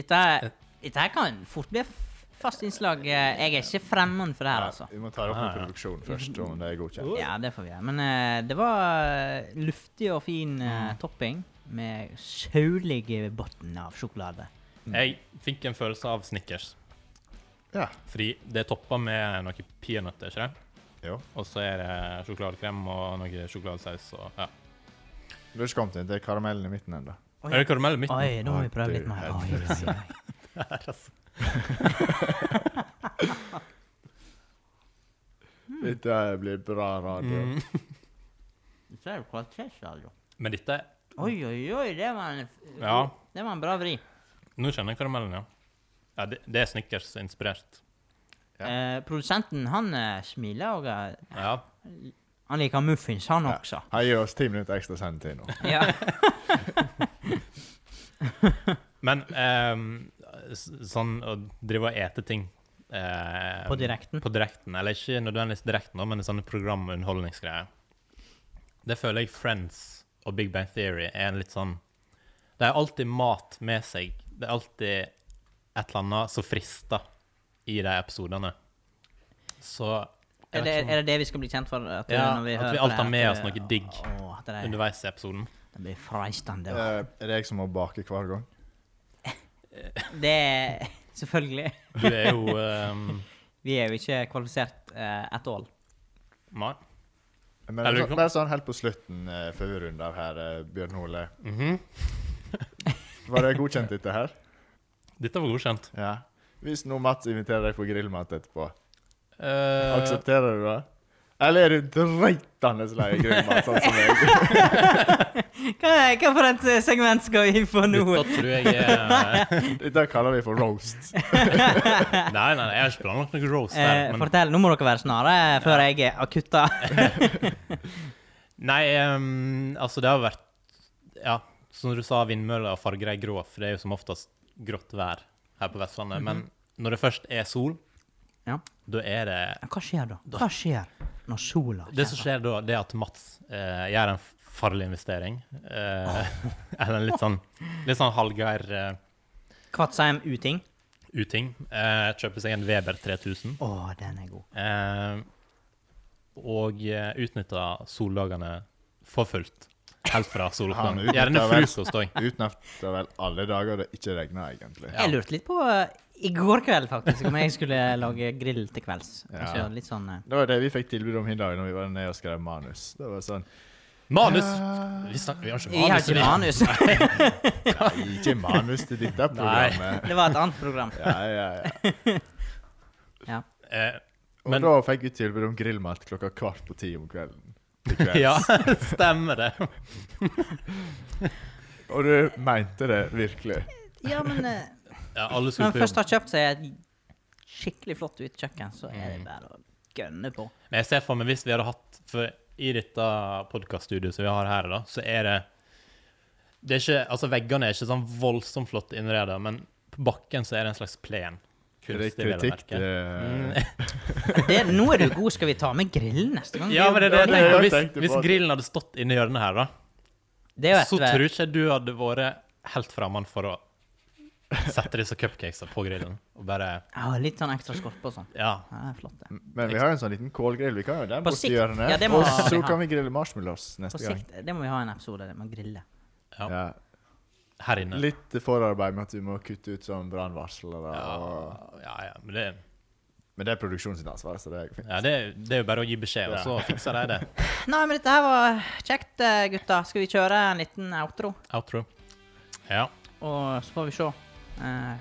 [SPEAKER 3] Dette, er- dette her kan fort bli f- fast innslag. Eh, Jeg er ikke fremmed for det her, altså.
[SPEAKER 1] Vi må ta det opp
[SPEAKER 2] Ah,
[SPEAKER 1] med
[SPEAKER 2] ja.
[SPEAKER 1] produksjon først, om det er godkjent.
[SPEAKER 3] Ja, det får vi gjøre. Men eh, det var eh, luftig og fin eh,
[SPEAKER 2] Mm.
[SPEAKER 3] topping med saulig bunn av sjokolade.
[SPEAKER 2] Jeg fikk en følelse av Snickers.
[SPEAKER 1] Ja.
[SPEAKER 2] Fordi det er toppa med noen peanøtter, ikke det?
[SPEAKER 1] Jo.
[SPEAKER 2] Og så er det sjokoladekrem og noe sjokoladesaus og ja.
[SPEAKER 1] Du har ikke kommet inn til karamellen i midten ennå.
[SPEAKER 3] Oi.
[SPEAKER 2] Er det karamell i midten?
[SPEAKER 3] Oi, nå må vi
[SPEAKER 1] Å,
[SPEAKER 3] prøve
[SPEAKER 1] du
[SPEAKER 3] litt mer. Oi, oi, oi. Mm.
[SPEAKER 1] Dette her blir bra radio.
[SPEAKER 2] Mm.
[SPEAKER 3] Dette er jo kvalitetsradio.
[SPEAKER 2] Men dette
[SPEAKER 3] Oi, oi, oi, det var en,
[SPEAKER 2] Ja.
[SPEAKER 3] det var en bra vri.
[SPEAKER 2] Nå kjenner jeg karamellen, ja. ja det, det er Snickers-inspirert.
[SPEAKER 1] Ja.
[SPEAKER 3] Eh, produsenten, han eh, smiler og eh,
[SPEAKER 2] Ja.
[SPEAKER 3] han liker muffins, han
[SPEAKER 1] Ja.
[SPEAKER 3] også.
[SPEAKER 1] Han gir oss ti minutter ekstra sendetid nå.
[SPEAKER 3] Ja.
[SPEAKER 2] Men ehm, s- sånn å drive og ete ting eh,
[SPEAKER 3] På direkten?
[SPEAKER 2] På direkten, Eller ikke nødvendigvis direkten, da, men sånne program- og underholdningsgreier. Det føler jeg Friends og Big Bang Theory er en litt sånn Det er alltid mat med seg. Det er alltid et eller annet som frister i de episodene. Så jeg
[SPEAKER 3] Er
[SPEAKER 2] vet
[SPEAKER 3] det,
[SPEAKER 2] ikke om-
[SPEAKER 3] er det det vi skal bli kjent for? eh, At
[SPEAKER 2] Ja,
[SPEAKER 3] når
[SPEAKER 2] at
[SPEAKER 3] hører
[SPEAKER 2] vi
[SPEAKER 3] på
[SPEAKER 2] alt
[SPEAKER 3] det,
[SPEAKER 2] har med
[SPEAKER 3] at
[SPEAKER 2] oss
[SPEAKER 3] det-
[SPEAKER 2] noe digg
[SPEAKER 3] Å, at det,
[SPEAKER 2] underveis i episoden?
[SPEAKER 3] det blir freistende.
[SPEAKER 1] Eh,
[SPEAKER 3] da.
[SPEAKER 1] Er det jeg som må bake hver gang?
[SPEAKER 3] Det er selvfølgelig.
[SPEAKER 2] Du er jo ehm,
[SPEAKER 3] Vi er jo ikke kvalifisert uh, at all.
[SPEAKER 2] Nei.
[SPEAKER 1] Men
[SPEAKER 2] Eller du
[SPEAKER 1] så,
[SPEAKER 2] kan-
[SPEAKER 1] bare sånn helt på slutten eh, før vi runder her, eh, Bjørn Ole.
[SPEAKER 2] Mhm.
[SPEAKER 1] Var det godkjent, dette her?
[SPEAKER 2] Dette var godkjent.
[SPEAKER 1] Ja. Hvis nå Mats inviterer deg på grillmat etterpå,
[SPEAKER 2] Eh,
[SPEAKER 1] aksepterer du det? Eller er du dreitende lei av grillmat, sånn som jeg?
[SPEAKER 3] Hva, hva for et eh, segment skal vi få nå?
[SPEAKER 2] Dette tror jeg er
[SPEAKER 1] Dette kaller vi for roast.
[SPEAKER 2] Nei, nei, nei, jeg har ikke planlagt noe roast
[SPEAKER 3] Eh,
[SPEAKER 2] der. Men,
[SPEAKER 3] fortell, nå må dere være snare før jeg er akutta.
[SPEAKER 2] nei, ehm, altså, det har vært Ja, som du sa, vindmøller og farger er grå, for det er jo som oftest grått vær her på Vestlandet. Men når det først er sol,
[SPEAKER 3] Mhm. Ja.
[SPEAKER 2] Da er det
[SPEAKER 3] Men Hva skjer da? Hva skjer når sola
[SPEAKER 2] Det som skjer da, det er at Mats eh, gjør en farlig investering. Eh, eller en litt sånn, litt sånn halvgær eh,
[SPEAKER 3] Kvatsheim uting?
[SPEAKER 2] uting. Eh, kjøper seg en Weber 3000.
[SPEAKER 3] Å, den er god.
[SPEAKER 2] Eh, og eh, utnytter soldagene for fullt. Helt fra
[SPEAKER 1] Han
[SPEAKER 2] soloppgangen.
[SPEAKER 1] utnytter
[SPEAKER 2] Gjerne
[SPEAKER 1] vel-
[SPEAKER 2] frokost òg.
[SPEAKER 1] Utnytter vel alle dager det ikke regner, egentlig.
[SPEAKER 2] Ja.
[SPEAKER 3] Jeg lurte litt på eh, i går kveld, faktisk, om jeg skulle lage grill til kvelds. Altså
[SPEAKER 1] Ja.
[SPEAKER 3] litt sånn eh,
[SPEAKER 1] Det var det vi fikk tilbud om i dag når vi var nede og skrev manus. Det var sånn
[SPEAKER 2] Manus! Vi, snak, vi har ikke
[SPEAKER 3] Jeg har
[SPEAKER 2] manus.
[SPEAKER 3] ikke
[SPEAKER 2] vi.
[SPEAKER 3] manus.
[SPEAKER 1] Nei, ikke manus til dette programmet.
[SPEAKER 3] Det var et annet program.
[SPEAKER 1] Ja, ja, ja.
[SPEAKER 3] Ja.
[SPEAKER 2] Eh,
[SPEAKER 1] Og
[SPEAKER 2] Men-
[SPEAKER 1] da fikk vi tilbud om grillmat klokka kvart på ti om kvelden. Til kvelds.
[SPEAKER 2] ja, stemmer det.
[SPEAKER 1] Og du mente det virkelig.
[SPEAKER 3] Ja, men eh,
[SPEAKER 2] Ja, alle
[SPEAKER 3] når
[SPEAKER 2] skulle
[SPEAKER 3] en
[SPEAKER 2] på
[SPEAKER 3] først
[SPEAKER 2] jobb.
[SPEAKER 3] har kjøpt seg et skikkelig flott hvitt kjøkken, så er
[SPEAKER 2] Mm.
[SPEAKER 3] det bare å gønne på.
[SPEAKER 2] Men jeg ser for meg hvis vi hadde hatt For i dette podkaststudioet som vi har her, da, så er det det er ikke, altså Veggene er ikke sånn voldsomt flott innredet, men på bakken så er det en slags plen.
[SPEAKER 1] Er det
[SPEAKER 2] Kunstig, vil jeg
[SPEAKER 1] kritikk?
[SPEAKER 2] merke. Mm.
[SPEAKER 1] eh,
[SPEAKER 3] Det, nå er du god. Skal vi ta med grillen neste gang?
[SPEAKER 2] Ja, men det, er det,
[SPEAKER 1] Ja, det er
[SPEAKER 2] jeg tenker.
[SPEAKER 1] det jeg
[SPEAKER 2] hvis,
[SPEAKER 1] tenkte
[SPEAKER 2] hvis
[SPEAKER 1] på.
[SPEAKER 2] grillen hadde stått inni hjørnet her, da,
[SPEAKER 3] Det er
[SPEAKER 2] så
[SPEAKER 3] jo
[SPEAKER 2] tror
[SPEAKER 3] et, eh,
[SPEAKER 2] jeg ikke du hadde vært helt fremmed for å sette disse cupcakesa på grillen og bare
[SPEAKER 3] ja, litt sånn ekstra skorpe og sånn.
[SPEAKER 2] Ja.
[SPEAKER 3] Ja, det er flott,
[SPEAKER 2] Mm,
[SPEAKER 3] det.
[SPEAKER 1] Men vi har en sånn liten kålgrill. Vi kan jo den
[SPEAKER 3] På
[SPEAKER 1] borti
[SPEAKER 3] sikt.
[SPEAKER 1] hjørnet.
[SPEAKER 3] Ja, det må
[SPEAKER 1] og
[SPEAKER 3] vi
[SPEAKER 1] så
[SPEAKER 3] ha.
[SPEAKER 1] kan vi grille marshmallows
[SPEAKER 3] På
[SPEAKER 1] neste gang.
[SPEAKER 3] sikt, det må vi ha en episode det med å grille.
[SPEAKER 2] Ja.
[SPEAKER 1] Ja.
[SPEAKER 2] Her inne.
[SPEAKER 1] Litt forarbeid med at vi må kutte ut sånn brannvarslere. og-
[SPEAKER 2] Ja, ja, ja, men det,
[SPEAKER 1] Men det er produksjonen sitt ansvar, så det er fint.
[SPEAKER 2] ja, det, det er jo bare å gi beskjed, og så fikser de det.
[SPEAKER 3] Nei, men dette her var kjekt, eh, gutta. Skal vi kjøre en liten outro,
[SPEAKER 2] Outro. Ja.
[SPEAKER 3] og så får vi se eh,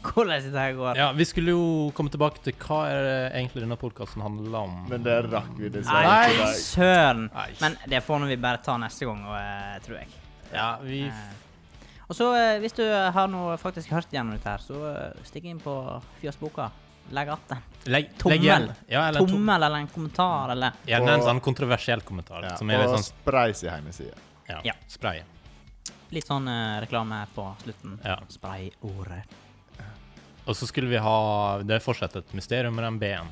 [SPEAKER 3] hvordan dette her går?
[SPEAKER 2] ja. Vi skulle jo komme tilbake til hva er det egentlig denne podkasten handler om.
[SPEAKER 1] Men det rakk vi dessverre
[SPEAKER 3] Nei,
[SPEAKER 1] ikke i dag.
[SPEAKER 3] søren!
[SPEAKER 2] Nei.
[SPEAKER 3] Men det får nå vi bare ta neste gang, og, eh, tror jeg.
[SPEAKER 2] Ja, vi
[SPEAKER 3] Eh, Og så, eh, hvis du har noe faktisk hørt gjennom dette her, så eh, stikk inn på Fjøsboka. Legg att den.
[SPEAKER 2] legg,
[SPEAKER 3] Tommel.
[SPEAKER 2] legg igjen. Ja, eller en tom-
[SPEAKER 3] Tommel eller en kommentar eller
[SPEAKER 2] Gjerne en sånn kontroversiell kommentar.
[SPEAKER 1] Ja,
[SPEAKER 2] som er litt
[SPEAKER 1] og
[SPEAKER 2] sånn
[SPEAKER 1] spray sin hjemmeside.
[SPEAKER 2] ja,
[SPEAKER 3] Ja.
[SPEAKER 2] spray.
[SPEAKER 3] litt sånn eh, reklame på slutten.
[SPEAKER 2] Ja.
[SPEAKER 3] Spray ordet.
[SPEAKER 2] Og så skulle vi ha Det er fortsatt et mysterium med den B-en.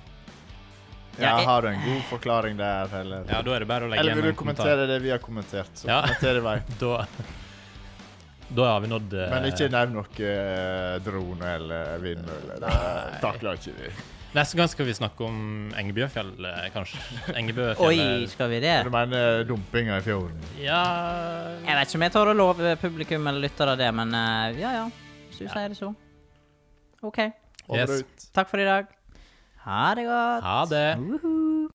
[SPEAKER 1] Ja,
[SPEAKER 3] Ja, jeg-
[SPEAKER 1] har du en god forklaring der, eller?
[SPEAKER 2] Ja, da er det bare å legge
[SPEAKER 1] eller vil
[SPEAKER 2] igjen
[SPEAKER 1] du
[SPEAKER 2] en kommentar.
[SPEAKER 1] kommentere det vi har kommentert? Så
[SPEAKER 2] Ja.
[SPEAKER 1] kommenter i vei.
[SPEAKER 2] Da, da har vi nådd eh,
[SPEAKER 1] Men ikke nevn noe eh, drone eller vindmøller. Det takler ikke vi.
[SPEAKER 2] Neste gang skal vi snakke om Engebøfjell, eh, kanskje.
[SPEAKER 3] Oi,
[SPEAKER 2] Engebøfjell
[SPEAKER 3] skal vi det?
[SPEAKER 1] Du mener dumpinga i fjorden?
[SPEAKER 2] Ja
[SPEAKER 3] Jeg vet ikke om jeg tør å love publikum eller lyttere det, men eh, ja ja. Hvis du
[SPEAKER 2] Ja.
[SPEAKER 3] sier det så. OK.
[SPEAKER 1] Over
[SPEAKER 2] Yes.
[SPEAKER 1] og ut.
[SPEAKER 3] Takk for i dag. Ha det godt.
[SPEAKER 2] Ha det.
[SPEAKER 1] Woohoo.